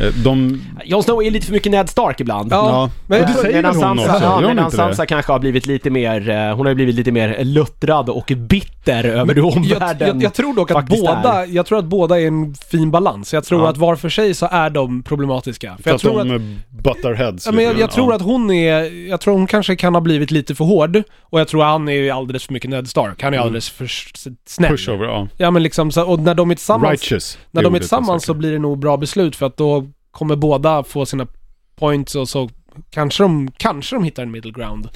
S1: Eh, de...
S2: Jon Snow är lite för mycket Ned Stark ibland.
S3: Ja, men-
S1: och det säger
S2: Medan
S1: väl hon
S2: Sansa,
S1: också?
S2: ja,
S1: Gör hon
S2: medan
S1: inte
S2: Sansa
S1: det?
S2: kanske har blivit lite mer, eh, hon har ju blivit lite mer luttrad och bitter över hur
S3: Jag,
S2: omvärlden...
S3: jag, jag tror dock att
S2: faktiskt
S3: båda, jag tror att båda är en fin balans. Jag tror
S2: Ja.
S3: att var för sig så är de problematiska. För
S1: För
S3: jag
S1: att de typ.
S3: tror att,
S1: att... buttar heads.
S3: ja, men jag,
S1: lite
S3: jag
S1: grann.
S3: tror att hon är, jag tror hon kanske kan ha blivit lite för hård. Och jag tror att han är ju alldeles för mycket Ned Stark. Han är
S2: Mm.
S3: alldeles för s- snäll.
S1: Pushover, ja.
S3: Ja men liksom, så, och när de är tillsammans,
S1: Righteous.
S3: när
S1: är
S3: de är
S1: ordet jag
S3: tillsammans
S1: söker.
S3: så blir det nog bra beslut för att då kommer båda få sina points och så kanske de, kanske de hittar en middle ground.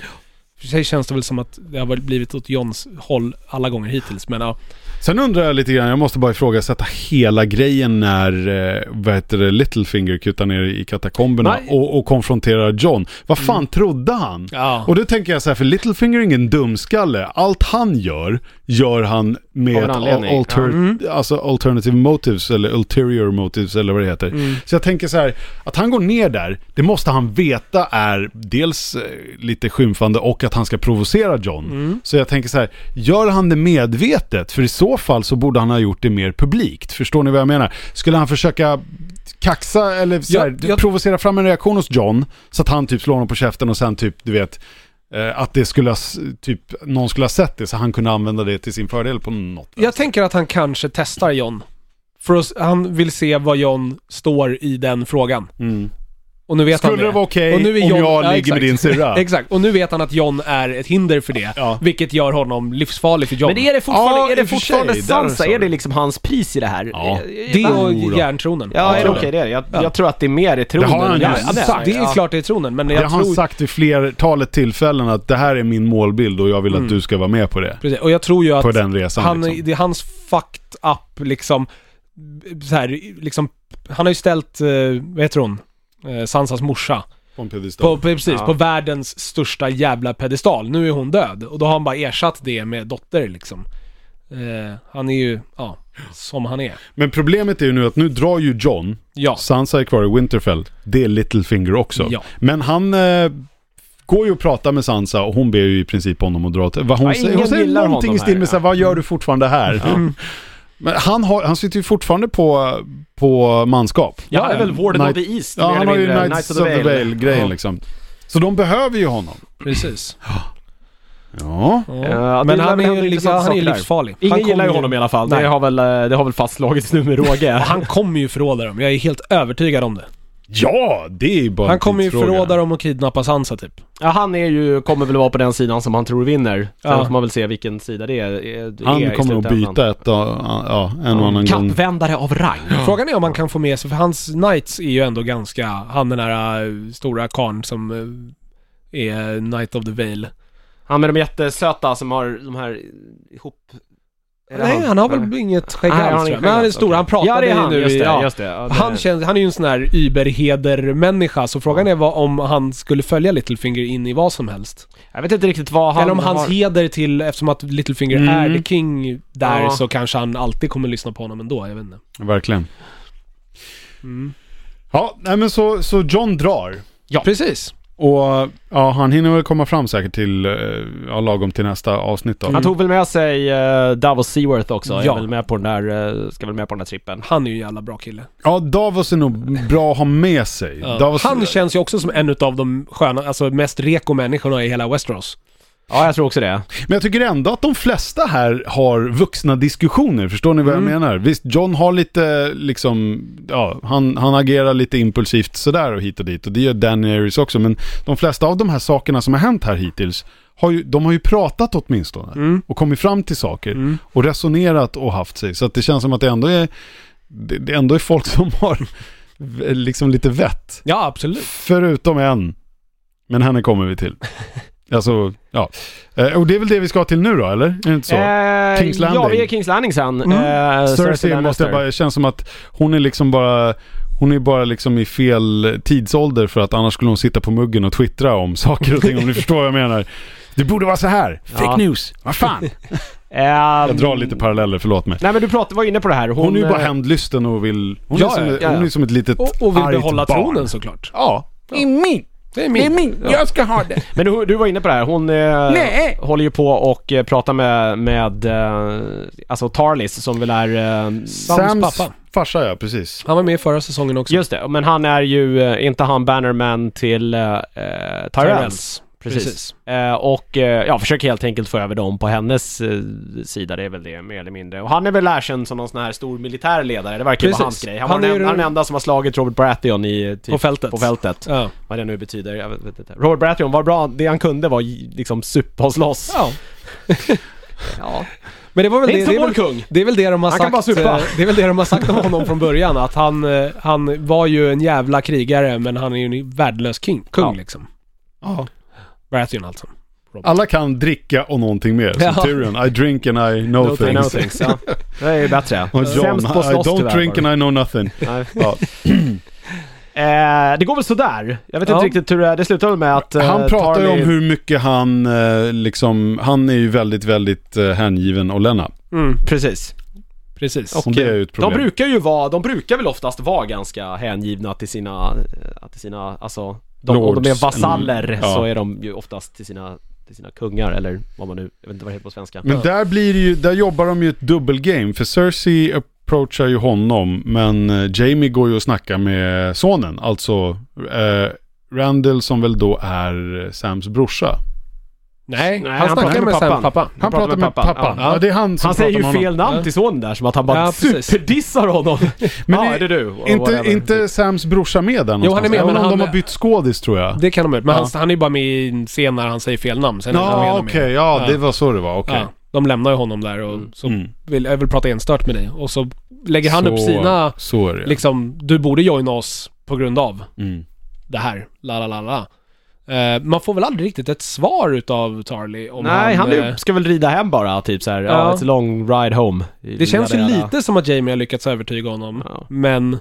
S3: För sig känns det väl som att det har väl blivit åt Johns håll alla gånger hittills men ja.
S1: Sen undrar jag lite grann, jag måste bara ifrågasätta hela grejen när, eh, vad heter det, Littlefinger kutar ner i katakomberna
S2: Nej.
S1: och, och konfronterar John. Vad fan trodde han?
S3: Ja.
S1: Och då tänker jag så här, för Littlefinger är ingen dumskalle. Allt han gör, gör han
S2: Av en
S1: med ett al-
S2: anledning.
S1: alter, alltså alternative motives eller ulterior motives eller vad det heter. Så jag tänker så här, att han går ner där, det måste han veta är dels eh, lite skymfande och att han ska provocera John. Så jag tänker så här, gör han det medvetet? För i så fall så borde han ha gjort det mer publikt. Förstår ni vad jag menar? Skulle han försöka kaxa eller så
S3: Ja,
S1: här,
S3: jag-
S1: provocera fram en reaktion hos John så att han typ slår honom på käften och sen typ, du vet, eh, att det skulle ha, s- typ, någon skulle ha sett det så han kunde använda det till sin fördel på något
S3: Jag tänker att han kanske testar John. För att, han vill se vad John står i den frågan.
S1: Mm.
S3: Och nu vet han
S1: Skulle det vara okej
S3: Och nu är
S1: om
S3: John-
S1: jag
S3: ja,
S1: ligger
S3: exakt.
S1: med din syrra?
S3: Exakt, och nu vet han att John är ett hinder för det.
S1: Ja.
S3: Vilket gör honom livsfarlig för John.
S2: Men är det fortfarande,
S1: Ja,
S2: är
S1: i
S2: det
S1: och för
S2: fortfarande
S1: sig, där
S2: Sansa?
S1: sa
S2: Är det
S1: du.
S2: liksom hans pris i det här?
S1: Ja.
S2: Eh,
S3: det
S2: va?
S3: och
S1: Jodå.
S3: järntronen.
S2: Ja, är det
S1: tror
S2: okej det? Jag, jag tror att det är mer i tronen.
S1: har han ju
S2: än
S1: sagt.
S2: det.
S3: det är klart det är tronen, men
S1: Det
S3: jag
S1: har han
S3: tror...
S1: sagt vid flertalet tillfällen att det här är min målbild och jag vill att du ska vara med på det.
S3: Precis, och jag tror ju Mm. att
S1: På den resan
S3: han,
S1: liksom.
S3: det är hans fucked up liksom, b- så här, liksom, han har ju ställt, eh, vad heter hon? Eh, Sansas morsa.
S1: På en piedestal.
S3: På, på, precis,
S2: Ja.
S3: på världens största jävla pedestal. Nu är hon död och då har han bara ersatt det med dotter liksom. Eh, han är ju, ja, som han är.
S1: Men problemet är ju nu att nu drar ju John,
S3: Ja.
S1: Sansa är kvar i Winterfell, det är Littlefinger också.
S3: Ja.
S1: Men han eh, går ju och pratar med Sansa och hon ber ju i princip honom att dra åt... Vad hon,
S2: Ja,
S1: säger,
S2: ingen
S1: hon säger
S2: gillar
S1: någonting
S2: honom
S1: i stil med
S2: här,
S1: såhär, vad gör du fortfarande här? Men han, har, han sitter ju fortfarande på, på manskap.
S2: Ja, han är väl Warden
S1: Knight-
S2: of the East,
S1: Ja,
S2: mer
S1: han
S2: eller
S1: har ju
S2: mindre.
S1: Knights, of the Vale-grejen
S2: Ja.
S1: liksom. Så de behöver ju honom.
S3: Precis.
S1: Ja.
S2: Ja, det
S3: Men
S2: lär
S3: han
S2: väl hända
S3: är ju liksom,
S2: intressanta
S3: han är ju
S2: saker där.
S3: livsfarlig.
S2: Ingen
S3: han
S2: gillar
S3: kommer
S2: ju honom i alla fall.
S3: Nej.
S2: Det har, väl, eh, det har väl fastslagits nu med råge.
S3: Han kommer ju förråda dem. Jag är helt övertygad om det.
S1: Ja, det är ju bara en
S3: Han kommer ju
S1: tidsfråga.
S3: förråda dem och kidnappa Sansa typ.
S2: Ja, han är ju, kommer väl vara på den sidan som han tror vinner. Sen
S3: Ja.
S2: får man väl se vilken sida det är. är är
S1: Han
S2: i
S1: kommer nog
S2: slutändan.
S1: byta ett, ja, ja, en och annan gång.
S2: Kappvändare av rang.
S3: Frågan är om man kan få med sig, för hans Knights är ju ändå ganska, han den här eh, stora karln som eh, är Knight of the Vale.
S2: Han med de jättesöta som har de här ihop... Är det
S3: Nej, han har väl
S2: Nej.
S3: inget skägg
S2: Nej, han
S3: alls
S2: har
S3: tror
S2: inget
S3: jag. Men han är
S2: skägg
S3: stor,
S2: alls,
S3: han
S2: okej.
S3: pratade
S2: ja, det är
S3: ju
S2: han,
S3: nu
S2: just
S3: i-
S2: det,
S3: ja.
S2: just det. Ja, det
S3: Han, känns, han är ju en sån här überheder-människa, så frågan är vad, om han skulle följa Littlefinger in i vad som helst.
S2: Jag vet inte riktigt vad han
S3: Eller om hans
S2: har...
S3: heder till, eftersom att Littlefinger
S1: Mm.
S3: är the king där,
S2: Ja.
S3: så kanske han alltid kommer lyssna på honom ändå, jag vet inte. Mm.
S1: Verkligen. Ja, nej men så, så John drar.
S3: Ja. Precis.
S1: Och ja, han hinner väl komma fram säkert till, eh, ja, lagom till nästa avsnitt
S3: Mm.
S1: då.
S2: Han tog väl med sig eh, Davos Seaworth också. Är
S3: Ja.
S2: väl med på den där, eh, ska väl med på den där trippen.
S3: Han är ju en jävla bra kille.
S1: Ja, Davos är nog bra att ha med sig. Davos,
S3: Han känns ju också som en av de sköna, alltså mest reko människorna i hela Westeros.
S2: Ja, jag tror också det.
S1: Men jag tycker ändå att de flesta här har vuxna diskussioner, förstår ni vad
S3: Mm.
S1: jag menar? Visst, John har lite liksom, ja, han, han agerar lite impulsivt sådär och hit och dit och det gör Daenerys också, men de flesta av de här sakerna som har hänt här hittills, har ju, de har ju pratat åtminstone
S3: Mm.
S1: och kommit fram till saker och resonerat och haft sig, så att det känns som att det ändå är, det, det ändå är folk som har liksom lite vett.
S3: Ja, absolut.
S1: Förutom en. Men henne kommer vi till. Alltså, ja. Eh, Och det är väl det vi ska till nu då, eller? Är det inte så?
S2: Eh,
S1: Kings
S2: Ja, vi är
S1: Landing.
S2: Kings Landing sen.
S3: Mm.
S2: Eh,
S1: Cersei måste
S2: Lannister.
S1: jag bara, det känns som att hon är liksom bara, hon är bara liksom i fel tidsålder för att annars skulle hon sitta på muggen och twittra om saker och ting om ni förstår vad jag menar. Det borde vara så här. Fake
S2: Ja.
S1: news. Vad fan.
S2: Ehm,
S1: Jag drar lite paralleller, förlåt mig.
S2: Nej men du pratade, var inne på det här. Hon,
S1: Hon, är ju bara
S2: eh,
S1: hämndlysten och vill... Hon,
S3: Ja,
S1: är, som,
S3: ja,
S1: ett-
S2: ja, ja.
S1: hon är som ett litet
S3: Och, och vill
S1: argt
S3: behålla
S1: barn.
S3: tronen såklart.
S1: Ja.
S4: Det är min.
S3: Det är
S4: Det är
S3: min.
S4: min. Jag ska ha det.
S2: Men du, du var inne på det här, hon eh,
S4: Nej.
S2: håller ju på och eh, pratar med, med eh, alltså Tarlis som väl är... Eh,
S1: Sams
S3: pappa.
S1: farsa ja, precis.
S3: Han var med i förra säsongen också.
S2: just det, men han är ju, eh, inte han Bannerman till eh, eh, Tyrells.
S3: Tyrells.
S2: Precis.
S3: Precis.
S2: Eh, och eh, ja, försöker helt enkelt få över dem på hennes eh, sida, det är väl det mer eller mindre. Och han är väl erkänd som någon sån här stor militär ledare, det verkar ju vara
S3: Precis.
S2: hans grej. Han,
S3: Han
S2: var
S3: är
S2: den,
S3: ju-
S2: han är den enda som har slagit Robert Baratheon i... eh, Typ,
S3: På fältet.
S2: På fältet.
S3: Ja.
S2: Vad det nu betyder, jag vet, vet inte. Robert Baratheon var bra, det han kunde var j- liksom supa och slåss.
S3: ja. Men det var väl
S2: Det är
S3: det,
S2: inte så
S3: det, är
S2: vår
S3: väl,
S2: kung!
S3: det är väl det de har
S2: Han kan
S3: sagt.
S2: bara supa.
S3: eh, Det är väl det de har sagt om honom från början. Att han, eh, han var ju en jävla krigare men han är ju en värdelös king, kung
S2: Ja.
S3: liksom.
S1: Ja.
S3: Baratheon alltså.
S1: Alla kan dricka och någonting mer. Som
S3: Ja.
S1: Tyrion, I drink and I know
S2: I know
S1: things.
S2: things, ja. Det är ju bättre.
S1: Och John, I
S2: Sämst på att slåss
S1: don't
S2: tyvärr.
S1: drink and I know nothing.
S2: Nej.
S1: Ja.
S2: Eh, det går väl sådär. Jag vet
S3: Ja.
S2: inte riktigt hur det är. Det slutar väl med att... eh,
S1: Han pratar ju
S2: Tarly-
S1: om hur mycket han eh, liksom, han är ju väldigt, väldigt eh, hängiven och Lena.
S3: Mm,
S2: Precis. eh,
S3: precis.
S1: Och det är ju ett
S2: De
S1: problem.
S2: brukar ju vara, de brukar väl oftast vara ganska hängivna till sina, eh, till sina, alltså... De, om de är
S1: Lords,
S2: vasaller
S1: eller- ja.
S2: så är de ju oftast till sina, till sina kungar eller vad man nu, jag vet inte vad det heter på svenska.
S1: Men där blir det ju, där jobbar de ju ett dubbelgame. För Cersei approachar ju honom, men eh, Jamie går ju och snackar med sonen. Alltså eh, Randall som väl då är Sams brorsa.
S3: Nej,
S2: Nej,
S3: han, snackar med Sams pappa.
S1: Han pratar med pappan. Ja.
S2: Ja.
S1: det är han som
S2: Han
S1: pratar
S2: säger ju
S1: med honom.
S2: fel namn till sonen där som att han bara
S3: Ja, precis.
S2: superdissar honom.
S1: Men
S2: Men ja,
S1: det-
S2: är det du? Och
S1: Inte,
S2: whatever.
S1: inte Sams brorsa med där någonstans?
S3: han är med,
S1: Även
S3: men
S1: om
S3: han-
S1: de har bytt skådis tror jag.
S3: Det kan de ut. Men
S1: Ja.
S3: han, han är ju bara med i en scen när han säger fel namn. Sen är han med
S1: Ja,
S3: dem
S1: okej.
S3: igen.
S1: Ja,
S3: Ja.
S1: det var så det var. Okej.
S3: Ja, de lämnar ju honom där och så
S1: Mm.
S3: vill, jag vill prata enstört med dig. Och så lägger han
S1: så,
S3: upp sina,
S1: Så är det.
S3: liksom, du borde joina oss på grund av
S1: Mm.
S3: det här. La, la, la, la. Eh, man får väl aldrig riktigt ett svar utav Tarly om
S2: Nej, han,
S3: eh,
S2: ska väl rida hem bara, typ såhär, ja.
S3: Ja.
S2: it's a long ride home.
S3: Det känns ju lite som att Jamie har lyckats övertyga honom.
S2: Ja.
S3: Men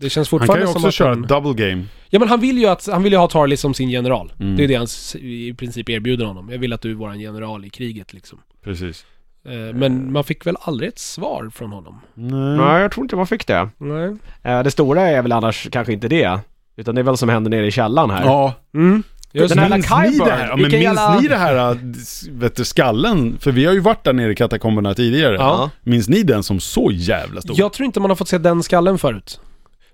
S3: det känns
S1: Han kan
S3: fortfarande
S1: ju
S3: som
S1: också
S3: att
S1: köra
S3: han-
S1: double game.
S3: Ja men han vill ju att, han vill ju ha Tarly som sin general.
S1: Mm.
S3: Det är det han s- i princip erbjuder honom. Jag vill att du är våran general i kriget liksom.
S1: Precis.
S3: Eh, Men man fick väl aldrig ett svar från honom?
S1: Nej.
S2: Mm. Nej, jag tror inte man fick det.
S3: Nej.
S2: Eh, Det stora är väl annars kanske inte det. Utan det är väl som händer nere i källaren här.
S1: Ja,
S3: Mm. Just
S2: Den här
S1: minns
S2: Lakai
S1: ni
S2: Bird,
S1: det här? Ja, men minns
S2: vilken jävla-
S1: ni det här, äh, s- vet du, skallen? För vi har ju varit där nere i katakomberna tidigare.
S2: Ja.
S1: Minns ni den som så jävla stor?
S3: Jag tror inte man har fått se den skallen förut.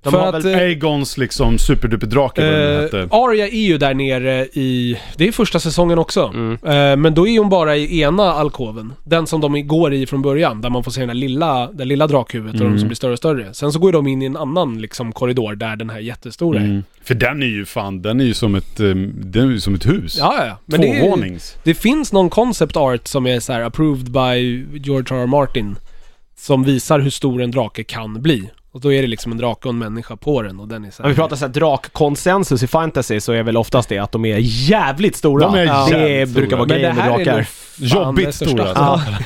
S2: De
S3: För
S2: har
S3: att,
S2: väl-
S3: eh,
S1: Aegons liksom superduperdrake, vad den hette.
S3: Eh, Arya är ju där nere i, det är första säsongen också. Eh, men då är hon bara i ena alkoven. Den som de går i från början, där man får se den där lilla, det lilla drakhuvudet och de som blir större och större. Sen så går de in i en annan liksom korridor där den här jättestora är.
S1: Mm. För den är ju fan, den är ju som ett, eh, den är ju som ett hus.
S3: Ja, ja, ja. Men det, är,
S1: Tvåvånings.
S3: det finns någon concept art som är så här approved by George R. R. Martin. Som visar hur stor en drake kan bli. Och då är det liksom en drake och en människa på den och den är så
S2: När
S3: här,
S2: vi pratar så här drakkonsensus i fantasy så är väl oftast det att de är jävligt stora.
S1: De är
S2: det
S1: jävligt
S2: brukar
S1: stora.
S2: vara
S3: Men det
S2: grejen med
S3: här är nog
S2: drakar.
S3: fan
S1: Jobbigt
S3: det största.
S1: stora.
S2: Ja.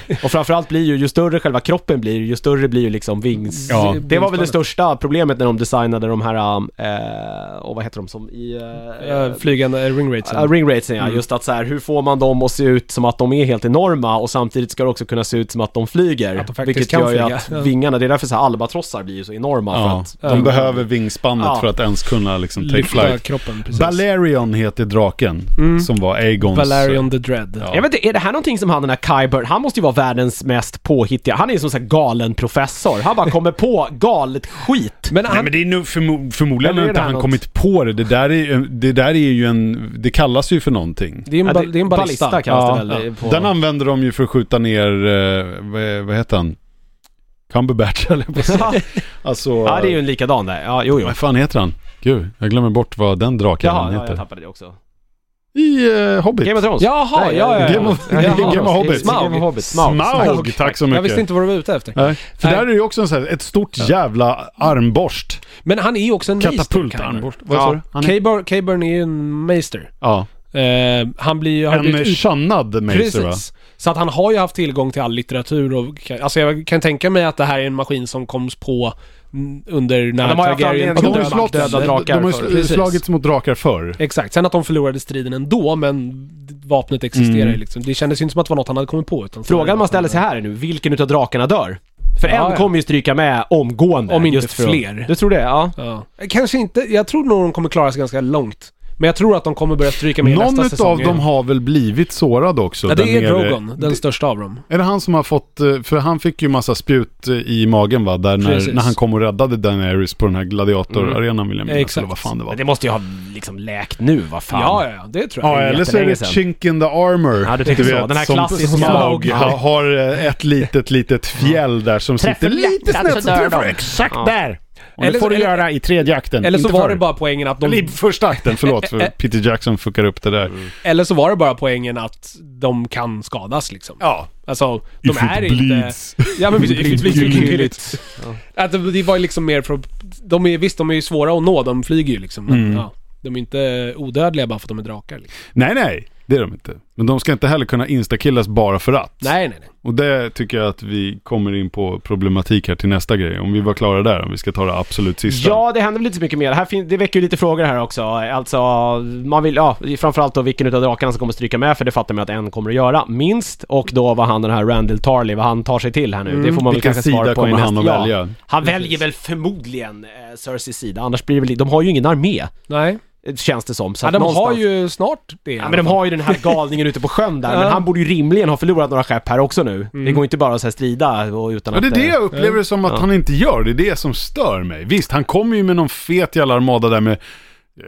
S2: Alltså, Och framförallt blir ju, ju större själva kroppen blir, ju större blir ju liksom vings...
S1: Ja.
S2: Det var väl det största problemet när de designade de här, eh, och vad heter de som i...
S3: Eh,
S2: Eh,
S3: flygande eh, ring rates.
S2: Ja, ring racing, ja.
S3: Mm.
S2: Just att så här, hur får man dem att se ut som att de är helt enorma och samtidigt ska det också kunna se ut som att de flyger.
S3: Att de faktiskt
S2: vilket
S3: kan
S2: gör ju
S3: flyga.
S2: att
S3: Ja.
S2: vingarna, det är därför så här albatrossar blir ju så enorma. För
S1: Ja,
S2: att,
S1: de behöver vingspannet
S2: Ja.
S1: för att ens kunna liksom take
S3: Lyfta
S1: flight.
S3: kroppen, precis.
S1: Balerion heter draken,
S3: Mm.
S1: som var Aegons. eh,
S3: Valerion the Dread.
S1: Ja.
S2: Jag vet inte, är det här någonting som han den här Kyber, han måste ju vara världens mest påhittiga, han är ju som sån här galen professor. Han bara kommer på galet skit.
S3: Men
S1: Nej
S3: han,
S1: men det är nog förmo- förmodligen
S2: Eller är
S1: inte
S2: det här
S1: han
S2: något?
S1: kommit på det. Det där, är, det där är ju en, det kallas ju för någonting.
S3: det är en,
S2: Ja,
S3: ba- det är en ballista.
S2: kallas
S1: Ja,
S2: det väl? det är På...
S1: Den använder de ju för att skjuta ner, eh, vad, vad heter han? Cumberbatch eller på att säga. Alltså,
S2: ja, det är ju en likadan där. Ja, jo, jo.
S1: vad fan heter han? Gud, jag glömmer bort vad den draken
S2: Jaha, ja,
S1: heter.
S2: jag tappade det också.
S1: I eh, Hobbit.
S2: Game of Thrones?
S3: Jaha,
S2: Nej,
S3: ja, ja, ja.
S1: Game of-
S3: Jaha.
S1: Game of Hobbit.
S2: Game of
S3: Smaug.
S2: Hobbit. Smaug.
S1: Smaug, tack så mycket.
S3: Jag visste inte vad du var ute efter.
S1: Nej, för
S3: Nej.
S1: där är ju också en sån här, ett stort jävla armborst.
S3: Men han är ju också en meister.
S1: Katapultarmborst. Vad sa
S2: Ja.
S1: du? Han är-
S3: K-Burn K-Burn är ju en meister.
S1: Ja.
S3: Eh, han blir ju... han har
S1: En
S3: blivit ut-
S1: shannad mazer va?
S3: Precis. Så att han har ju haft tillgång till all litteratur och... kan- Alltså jag kan tänka mig att det här är en maskin som koms på mm, under när
S2: de har ju haft
S3: Targaryen
S1: Ja,
S2: anledning
S1: De
S3: tog
S1: har ju
S2: Döda-
S3: över
S1: slagits-
S3: makten.
S2: döda drakar
S1: de har ju
S2: förr.
S1: sl-
S3: Precis.
S1: slagits mot drakar förr.
S3: Exakt. Sen att de förlorade striden ändå, men vapnet existerar ju
S1: Mm.
S3: liksom. Det kändes ju inte som att det var något han hade kommit på. Utan
S2: Frågan man ställer sig här är nu, vilken utav drakarna dör? För
S3: Ja,
S2: en
S3: ja.
S2: kommer ju stryka med omgående.
S3: Om inte
S2: för att-
S3: fler.
S2: Du tror det? Ja.
S3: Ja. Kanske inte. Jag tror nog de kommer klara sig ganska långt. Men jag tror att de kommer börja stryka med i
S1: Någon
S3: nästa
S1: utav
S3: säsong.
S1: dem
S3: igen.
S1: har väl blivit sårad också?
S3: Ja,
S1: där
S3: det är
S1: nere.
S3: Drogon, den största av dem.
S1: Är det han som har fått, eh, för han fick ju massa spjut eh, i magen va, där när,
S3: Precis. Mm.
S1: när han kom och räddade Daenerys på den här gladiatorarenan vill jag minnas,
S3: Exakt.
S1: eller vad fan det var.
S2: Men det måste ju ha liksom läkt nu, vad fan.
S3: Ja, ja, ja, det tror jag.
S1: Ja,
S2: är
S1: eller så är det
S2: jättelänge
S1: ett
S2: sedan.
S1: chink in the armor.
S2: Ja, du tänker så. Den här
S1: som
S2: klassiska-
S1: Smaug
S2: Ja.
S1: ha- har eh, ett litet, litet fjäll där som sitter lite snett så träffar du exakt
S2: Ja.
S1: där. Och
S3: Eller
S1: det får
S3: så-
S1: du göra i tredje akten,
S3: Eller så
S1: inte
S3: var
S1: förr.
S3: det bara poängen att
S1: Eller
S3: de...
S1: i första akten, förlåt, för Peter Jackson fuckar upp det där.
S3: Eller så var det bara poängen att de kan skadas liksom.
S1: Ja.
S3: Alltså, de
S1: If
S3: är
S1: it
S3: inte...
S1: bleeds.
S3: Ja men precis, if it bleeds, you
S1: kill
S3: kill it. Att det det var ju liksom mer för att- de är, visst de är ju svåra att nå, de flyger ju liksom. Men,
S1: Mm.
S3: ja, de är inte odödliga bara för att de är drakar liksom.
S1: Nej, nej, det är de inte. Men de ska inte heller kunna instakillas bara för att.
S3: Nej, nej, nej.
S1: Och det tycker jag att vi kommer in på problematik här till nästa grej. Om vi var klara där, om vi ska ta det absolut sista.
S2: Ja, det händer väl inte så mycket mer. Här fin- det väcker ju lite frågor här också. Alltså, man vill, ja, framförallt då vilken utav drakarna som kommer stryka med, för det fattar man att en kommer att göra, minst. Och då vad han den här Randall Tarley, vad han tar sig till här nu. Det får man väl
S1: Mm, Vilken
S2: kanske svara
S1: sida
S2: på i
S1: kommer
S2: nästa-
S1: han att
S2: ja.
S1: välja?
S2: Han väljer väl förmodligen eh, Cerseis sida, annars blir det väl, de har ju ingen armé,
S3: Nej.
S2: eh, känns det som. Så
S3: Ja,
S2: att
S3: de har
S2: någonstans-
S3: ju snart det.
S2: Ja, men de har ju den här galningen ute på sjön där,
S3: Ja.
S2: men han borde ju rimligen ha förlorat några skepp här också nu. Det går inte bara att så här strida och utan
S1: Mm. Ja, det är
S2: att...
S1: det
S2: eh,
S1: jag upplever det som att han inte gör. Det är det som stör mig. Visst, han kommer ju med någon fet jävla armada där med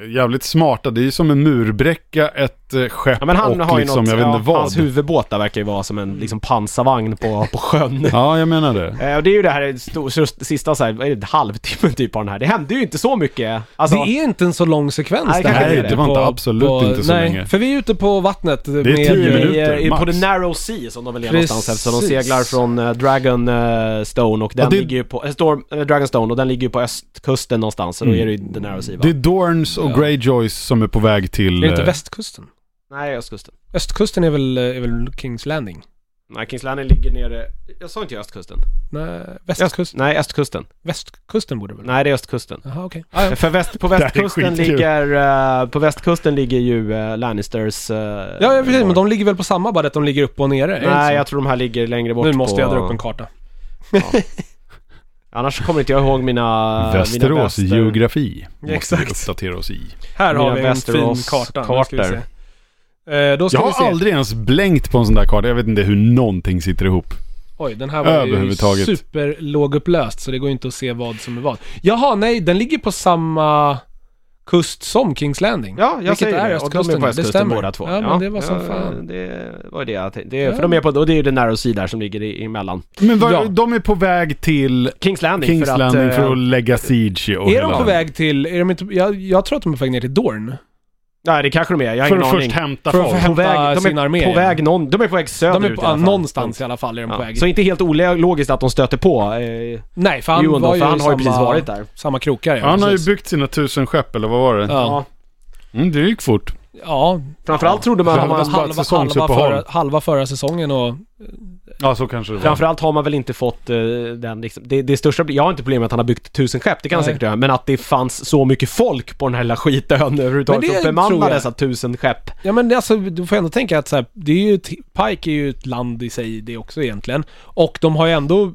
S1: eh, jävligt smarta. Det är ju som en murbräcka, ett eh, skepp
S2: Ja, men han
S1: och
S2: har ju
S1: liksom,
S2: något,
S1: jag vet inte
S2: ja,
S1: vad.
S2: hans huvudbåt där verkar ju vara som en liksom pansarvagn på, på sjön.
S1: Ja, jag menar det.
S2: Eh, Och det är ju det här stor, stor- sista så här, vad är det, halvtimmen typ av den här. Det hände ju inte så mycket. Alltså,
S3: Det är inte en så lång sekvens
S2: Nej,
S3: här.
S2: kanske inte.
S1: Det var inte absolut inte så länge.
S3: För vi är ute på vattnet Det
S1: är tio
S2: i,
S1: minuter.
S2: eh, i, på
S1: max.
S2: the narrow sea som de väl är
S3: Precis.
S2: någonstans eftersom de seglar från eh, Dragonstone och den
S1: Ja, det-
S2: ligger ju på, eh, Storm, eh, Dragonstone och den ligger ju på östkusten någonstans. Så då är det ju the narrow sea va?
S1: Mm. Det är Dorns och
S3: Ja.
S1: Greyjoys som är på väg till...
S3: Är det inte
S1: eh,
S3: västkusten?
S2: Nej, östkusten.
S3: Östkusten är väl, är väl Kings Landing?
S2: Nej, Kings Landing ligger nere, jag sa inte östkusten.
S3: Nej,
S2: Öst,
S3: västkusten?
S2: nej, östkusten.
S3: Västkusten borde det väl?
S2: Nej, det är östkusten.
S3: Jaha, okej.
S2: För väst, på
S1: här är
S2: västkusten
S1: skitkul.
S2: ligger, eh, på västkusten ligger ju eh, Lannisters... eh,
S3: Ja, ja, precis. Men de ligger väl på samma, bara att de ligger upp och nere? är det inte
S2: Nej,
S3: så?
S2: jag tror de här ligger längre bort
S3: Nu måste
S2: på...
S3: jag dra upp en karta.
S2: Annars kommer inte jag ihåg mina... mina
S1: Västerås
S2: väster-
S1: geografi måste
S3: Exakt.
S1: vi uppdatera oss i.
S3: Här har
S2: Mina
S3: vi en fin
S2: Västerås-
S3: karta. Nu ska vi
S2: kartor.
S3: se. Eh, då ska
S1: Jag
S3: vi se.
S1: har aldrig ens blänkt på en sån där karta. Jag vet inte hur någonting sitter ihop.
S3: Oj, den här var ju
S1: Överhuvudtaget.
S3: superlågupplöst så det går inte att se vad som är vad. Jaha, nej, den ligger på samma kust som Kings Landing.
S2: Ja, jag
S3: Vilket
S2: säger
S3: är
S2: det.
S3: östkusten,
S2: Och de är på
S3: det
S2: östkusten
S3: stämmer.
S2: båda två.
S3: Ja, men det var som fan.
S2: Det var ju det jag tänkte. Det,
S3: Ja.
S2: För de är på, och det är ju den nära syd där som ligger i- emellan.
S1: Men vad,
S3: Ja.
S1: de är på väg till
S2: Kings Landing
S1: Kings
S2: för att...
S1: Landing
S2: eh,
S1: för att lägga siege och
S3: Är
S1: hela-
S3: de på väg till, är de inte, jag, jag tror att de är på väg ner till Dorn.
S2: Nej, det kanske de är. Jag har
S1: För
S2: ingen
S1: att
S2: aning.
S1: först hämta
S3: För att
S1: folk.
S3: få hem-
S2: På väg, de
S3: sin
S2: är
S3: armé
S2: på
S3: igen.
S2: väg någon, de är på väg söderut
S3: De är på,
S2: i alla
S3: ja,
S2: fall.
S3: någonstans i alla fall är de på
S2: Ja.
S3: väg.
S2: Så inte helt ologiskt att de stöter på eh,
S3: nej, för han
S2: Ewan då,
S3: var ju
S2: för han
S3: i
S2: har ju
S3: samma,
S2: precis varit där.
S3: samma krokar ja,
S1: Han har ju
S3: precis.
S1: byggt sina tusen skepp, eller vad var det?
S3: Ja.
S1: Mm, det gick fort.
S3: ja. alltså
S2: Framförallt trodde man...
S1: Ja,
S2: Har
S1: men-
S2: man
S1: bara ett
S3: halva, halva,
S1: säsongsuppehåll.
S3: förra, halva förra säsongen och...
S1: Ja, så kanske det var.
S2: Framförallt har man väl inte fått eh, den liksom, det, det största, jag har inte problem med att han har byggt tusen skepp, det kan han
S3: Nej.
S2: säkert göra, men att det fanns så mycket folk på den här lilla skitön överhuvudtaget
S3: Men det
S2: för att
S3: tror
S2: bemanna
S3: jag.
S2: dessa tusen skepp.
S3: Ja men det, alltså, du får ändå tänka att så här, det är ju, ett- Pike är ju ett land i sig det också egentligen. Och de har ju ändå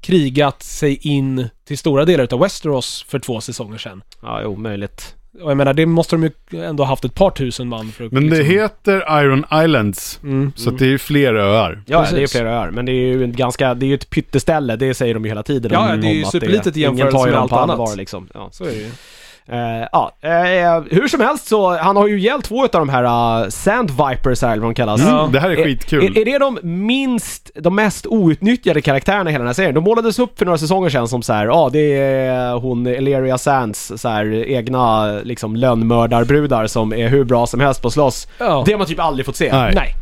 S3: krigat sig in till stora delar utav Westeros för två säsonger sedan.
S2: Ja, omöjligt.
S3: Och jag menar, det måste de ju ändå ha haft ett par tusen man för att
S1: Men det
S3: liksom-
S1: heter Iron Islands,
S3: Mm.
S1: så att det är ju fler öar. Mm,
S2: Ja,
S3: Precis.
S2: det är flera öar, men det är ju en ganska, det är ju ett pytteställe, det säger de ju hela tiden.
S3: Ja,
S2: om-
S3: ja, det är
S2: om
S3: ju
S2: att
S3: superlitet i
S2: ingen
S3: jämförelse
S2: tar ju
S3: med
S2: dem
S3: allt
S2: på
S3: annat.
S2: allvar, Liksom. Ja.
S3: Så är det ju.
S2: Eh, ja, eh, hur som helst så, han har ju ihjäl två utav de här eh, Sand Vipers här, eller vad de kallas.
S1: Mm, det här är
S2: Eh,
S1: skitkul.
S2: Är, är det de minst, de mest outnyttjade karaktärerna i hela den här serien? De målades upp för några säsonger sedan som så här, ja ah, det är hon Eleria Sands så här egna liksom lönnmördarbrudar som är hur bra som helst på att slåss.
S3: Ja.
S2: Det har man typ aldrig fått se.
S1: Nej.
S3: Nej.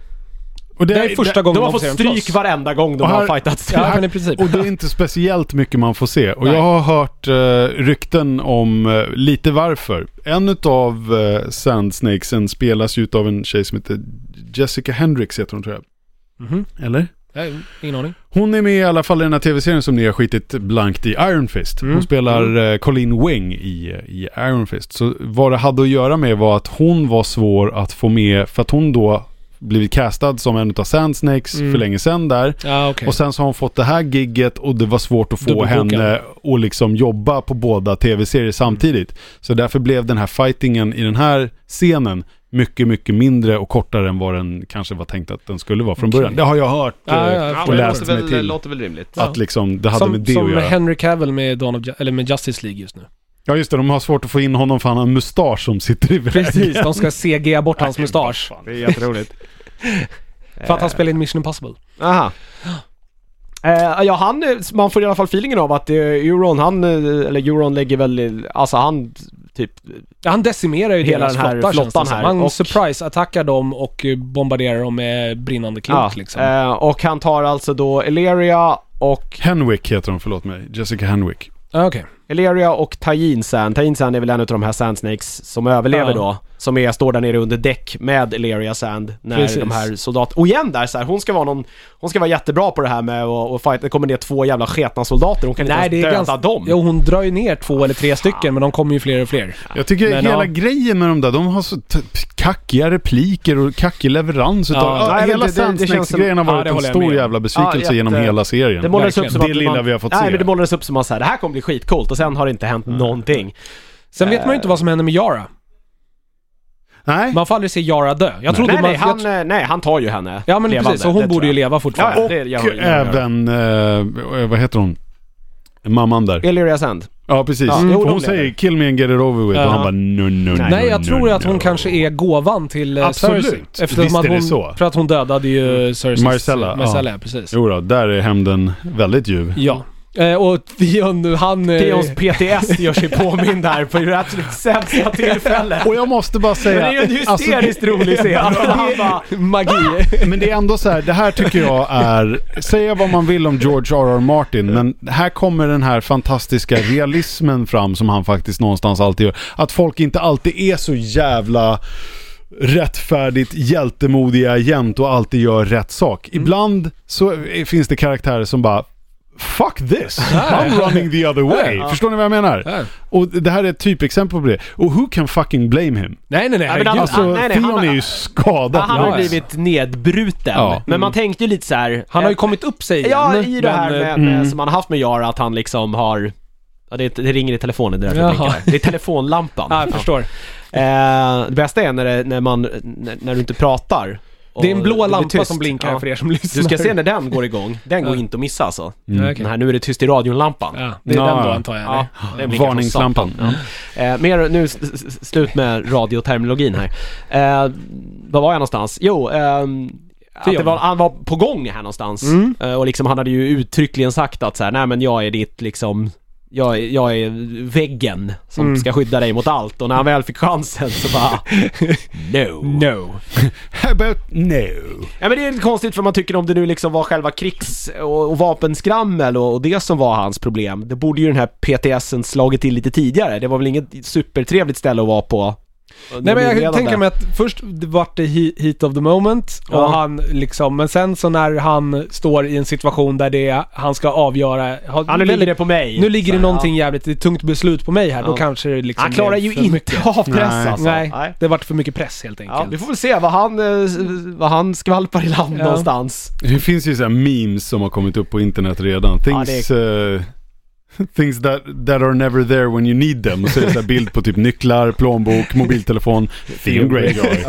S1: Och
S3: Det är första gången
S2: De har
S3: man
S2: fått
S3: ser dem
S2: stryk
S3: slåss.
S2: varenda gång de
S1: Och här-
S2: har fightats.
S3: Ja, men i princip.
S1: Och det är inte speciellt mycket man får se. Och
S3: Nej.
S1: jag har hört eh, rykten om eh, lite varför. En av eh, Sand Snakesen spelas ju av en tjej som heter Jessica Hendricks heter hon tror jag.
S3: Mhm.
S1: Eller?
S3: Nej, ingen aning.
S1: Hon är med i alla fall i den här tv-serien som ni har skitit blankt i Iron Fist. Hon
S3: Mm.
S1: spelar eh, Colleen Wing i, i Iron Fist. Så vad det hade att göra med var att hon var svår att få med för att hon då blivit castad som en av Sand Snakes
S3: Mm.
S1: för länge sedan där.
S3: Ja, okej.
S1: Och sen så har hon fått det här gigget och det var svårt att få
S3: Dubbelboka.
S1: henne att liksom jobba på båda
S3: Mm.
S1: tv-serier samtidigt. Så därför blev den här fightingen i den här scenen mycket, mycket mindre och kortare än vad den kanske var tänkt att den skulle vara från
S3: Okej.
S1: början. Det har jag hört
S3: Ja,
S1: eh,
S3: ja,
S1: och
S3: men det
S1: läst mig till.
S2: väl rimligt.
S1: Att liksom, det hade
S3: som
S1: med det
S3: som
S1: att göra.
S3: Henry Cavill med, Dawn of, Ju- eller med Justice League just nu.
S1: Ja just det, de har svårt att få in honom för han har en mustasch som sitter i vägen.
S3: Precis, de ska CGa bort hans mustasch.
S2: Det är jätteroligt.
S3: För att han spelar in Mission Impossible.
S2: Aha. Eh, ja, han, eh, man får i alla fall feelingen av att eh, Euron, han, eh, eller Euron lägger väl, eh, alltså han typ...
S3: Ja, han decimerar ju
S2: Hela
S3: deras
S2: den här
S3: flotta, känns det
S2: flottan
S3: som.
S2: här,
S3: Han
S2: och-
S3: surprise-attackar dem och eh, bombarderar dem med brinnande klot
S2: Ja,
S3: liksom.
S2: eh, och han tar alltså då Eleria och,
S1: Henwick heter hon, förlåt mig. Jessica Henwick.
S3: Ja, Okej.
S2: Eleria och Tajin Sand. Tajin Sand är väl en av de här Sand Snakes som överlever
S3: Ja.
S2: då. Som är, står där nere under däck med Eleria Sand när
S3: Precis.
S2: de här soldaterna... Och igen där så här, hon ska vara någon... Hon ska vara jättebra på det här med att och fight. Det kommer ner två jävla sketna soldater, hon kan
S3: Nej,
S2: inte
S3: det är
S2: ens döda
S3: ganska-
S2: dem.
S3: Jo, hon drar ju ner två eller tre stycken men de kommer ju fler och fler.
S1: Jag tycker
S3: Men
S1: hela
S3: ja.
S1: grejen med de där, de har så t- kackiga repliker och kackig leverans utav...
S3: Ja,
S1: Ja,
S2: nej, men
S1: hela
S2: det- det- det känns som-
S1: Sandsnakes-grejen har
S3: ja,
S1: varit
S3: det
S1: en
S3: håller jag
S1: stor
S3: med om.
S1: jävla besvikelse
S2: Ja,
S1: genom
S2: jätte-
S1: hela serien.
S2: Det målades upp
S3: Verkligen.
S2: som att
S1: Det lilla vi har fått
S2: nej,
S1: se.
S2: men det målades upp som att så här, det här kommer bli skitcoolt och sen har det inte hänt någonting.
S3: Sen vet man ju inte vad som händer med Yara.
S1: Nej.
S3: Man får aldrig se Yara dö. Jag trodde
S2: Nej,
S3: man...
S2: nej,
S3: jag
S2: han,
S3: tr-
S2: eh, nej, han tar ju henne.
S3: ja men
S2: levande,
S3: precis, så
S2: det
S3: hon
S2: tror
S3: borde ju
S2: jag.
S3: leva
S2: Ja,
S3: fortfarande.
S2: ja, det, jag,
S1: Och även, eh, vad heter hon? Mamman där.
S2: Illyria Sand.
S1: Ja, precis.
S2: Ja,
S1: För
S2: jo,
S1: hon
S2: de
S1: säger
S2: lever.
S1: 'Kill me and get it over with' och
S3: Ja.
S1: han bara 'No, no, no,
S3: Nej,
S1: no,
S3: jag tror att hon
S1: no.
S3: kanske är gåvan till eh,
S1: Absolut.
S3: Cersei.
S1: Visst
S3: Eftersom att
S1: är det
S3: hon,
S1: så. Mm.
S3: För att hon dödade ju Cerseis...
S1: Marcella, ja.
S3: Marcella, ja. precis.
S1: Jo då, där är hämnden väldigt ljuv.
S3: Ja. Eh, och Theon, han... eh,
S2: Theons PTS gör sig påmind där på det absolut sämsta tillfället.
S1: Och jag måste bara
S2: Men
S1: säga...
S2: det är ju en
S1: alltså,
S2: hysteriskt rolig scen. Han bara,
S3: magi.
S1: Men det är ändå så här, det här tycker jag är, säga vad man vill om George R.R. Martin, men här kommer den här fantastiska realismen fram som han faktiskt någonstans alltid gör. Att folk inte alltid är så jävla rättfärdigt
S2: Mm.
S1: hjältemodiga jämt och alltid gör rätt sak. Ibland så eh, finns det karaktärer som bara fuck this, I'm running the other way. Förstår ni vad jag menar?
S3: Ja.
S1: Och det här är ett typexempel på det. Och who can fucking blame him?
S3: Nej, nej, nej.
S2: men han-
S3: herregud.
S1: Alltså,
S2: nej, nej,
S1: Theon
S2: han-
S1: är ju skadad.
S2: han har
S3: ja.
S2: ju blivit nedbruten.
S1: Ja.
S2: Men man tänkte ju lite så här.
S3: han har ju
S2: eh,
S3: kommit upp sig igen.
S2: Ja, i det här
S3: men, eh,
S2: med, med, som han har haft med Jara, att han liksom har... Ja, det, det ringer i telefonen, det är därför jag
S3: Jaha.
S2: tänker det. Det är telefonlampan.
S3: Ja, jag förstår.
S2: Eh, det bästa är när, det, när, man, när, när du inte pratar. och
S3: Det är en blå
S2: blir
S3: lampa
S2: tyst.
S3: som blinkar
S2: Ja.
S3: för er som lyssnar.
S2: Du ska se när den går igång. Den går
S3: Ja.
S2: inte att missa alltså.
S1: Mm.
S3: Ja,
S2: Den
S3: okej.
S2: här Nu är det tyst i radion-lampan.
S3: Ja, det är
S1: Ja,
S3: den då
S1: ja.
S3: antar jag.
S2: Ja,
S3: Ja.
S2: den blinkar som
S1: Varningslampan.
S2: satan. Eh, mer nu, s- s- s- slut med radioterminologin här. Eh, var var jag någonstans? Jo, ehm, att det
S3: Theon.
S2: var, han var på gång här någonstans.
S3: Mm.
S2: Eh, och liksom han hade ju uttryckligen sagt att så här, nej men jag är ditt liksom jag är, jag är väggen som
S3: Mm.
S2: ska skydda dig mot allt och när han väl fick chansen så bara... No.
S3: No.
S1: How about no?
S2: Ja men det är lite konstigt för man tycker om det nu liksom var själva krigs och, och vapenskrammel och, och det som var hans problem. Det borde ju den här PTSen slagit till lite tidigare. Det var väl inget supertrevligt ställe att vara på.
S3: Nej men jag kan tänka mig att först vart det he- heat of the moment och
S2: Ja.
S3: han liksom, men sen så när han står i en situation där det är, han ska avgöra... ha-
S2: Ja, nu ligger det på mig.
S3: nu ligger det
S2: Så,
S3: någonting jävligt, det är ett tungt beslut på mig här,
S2: Ja.
S3: då kanske det
S2: Ja.
S3: liksom
S2: Han klarar
S3: blev
S2: ju
S3: för
S2: inte
S3: mycket.
S2: av press
S1: Nej.
S2: alltså.
S3: Nej, det vart för mycket press helt
S2: Ja,
S3: enkelt.
S2: vi får väl se vad han, eh, vad han skvalpar i land
S3: Ja.
S2: någonstans.
S1: Det finns ju så här memes som har kommit upp på internet redan. Things, eh, things that, that are never there when you need them. Och så är det så här bild på typ nycklar, plånbok, mobiltelefon. Theon Greyjoy.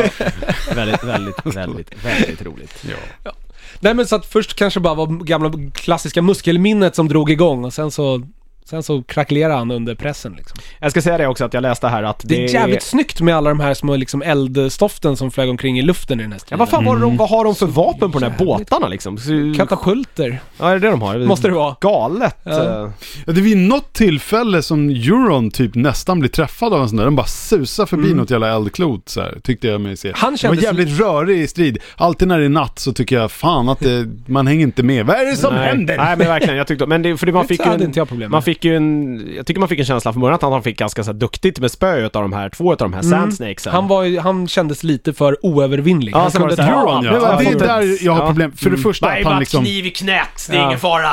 S2: väldigt, väldigt, väldigt, väldigt roligt.
S1: Ja.
S3: Nej men så att först kanske bara var gamla klassiska muskelminnet som drog igång och sen så, sen så krackelerade han under pressen liksom.
S2: Jag ska säga det också att jag läste här att det,
S3: Det är jävligt snyggt med alla de här små liksom eldstoften som flög omkring i luften i den här
S2: Ja,
S3: striden.
S2: vad fan var de, vad har de för vapen på de här
S3: jävligt-
S2: båtarna liksom? Så-
S3: Katapulter,
S2: Ja, är det det de har?
S3: måste det vara.
S2: Galet.
S3: Ja.
S2: eh,
S1: Ja, Det är vid något tillfälle som Euron typ nästan blir träffad av en sån där. Den bara susar förbi något jävla eldklot så här, tyckte jag mig se.
S3: Han
S1: Det var
S3: kändes som-
S1: jävligt rörig i strid. Alltid när det är natt så tycker jag fan att det, man hänger inte med. Vad är det som
S2: nej.
S1: händer?
S2: Nej men verkligen, jag tyckte Men det, för det, man
S3: Det
S2: fick ju
S3: hade
S2: en,
S3: inte jag problem med.
S2: Man fick ju en, jag tycker man fick en känsla från början att han fick ganska så här, duktigt med spöet av de här, två av de här Sand Snakesen.
S3: han var ju, han kändes lite för oövervinnlig.
S2: Ja,
S3: han
S2: så var
S3: kunde
S2: det så här,
S3: ta-
S1: Euron
S2: Nu har
S1: ja.
S2: jag
S1: Det är
S2: fått ett-
S1: där jag har
S2: ja. Mm.
S1: problem. För det första att han liksom...
S2: i knät,
S3: det är Ja. ingen
S2: fara.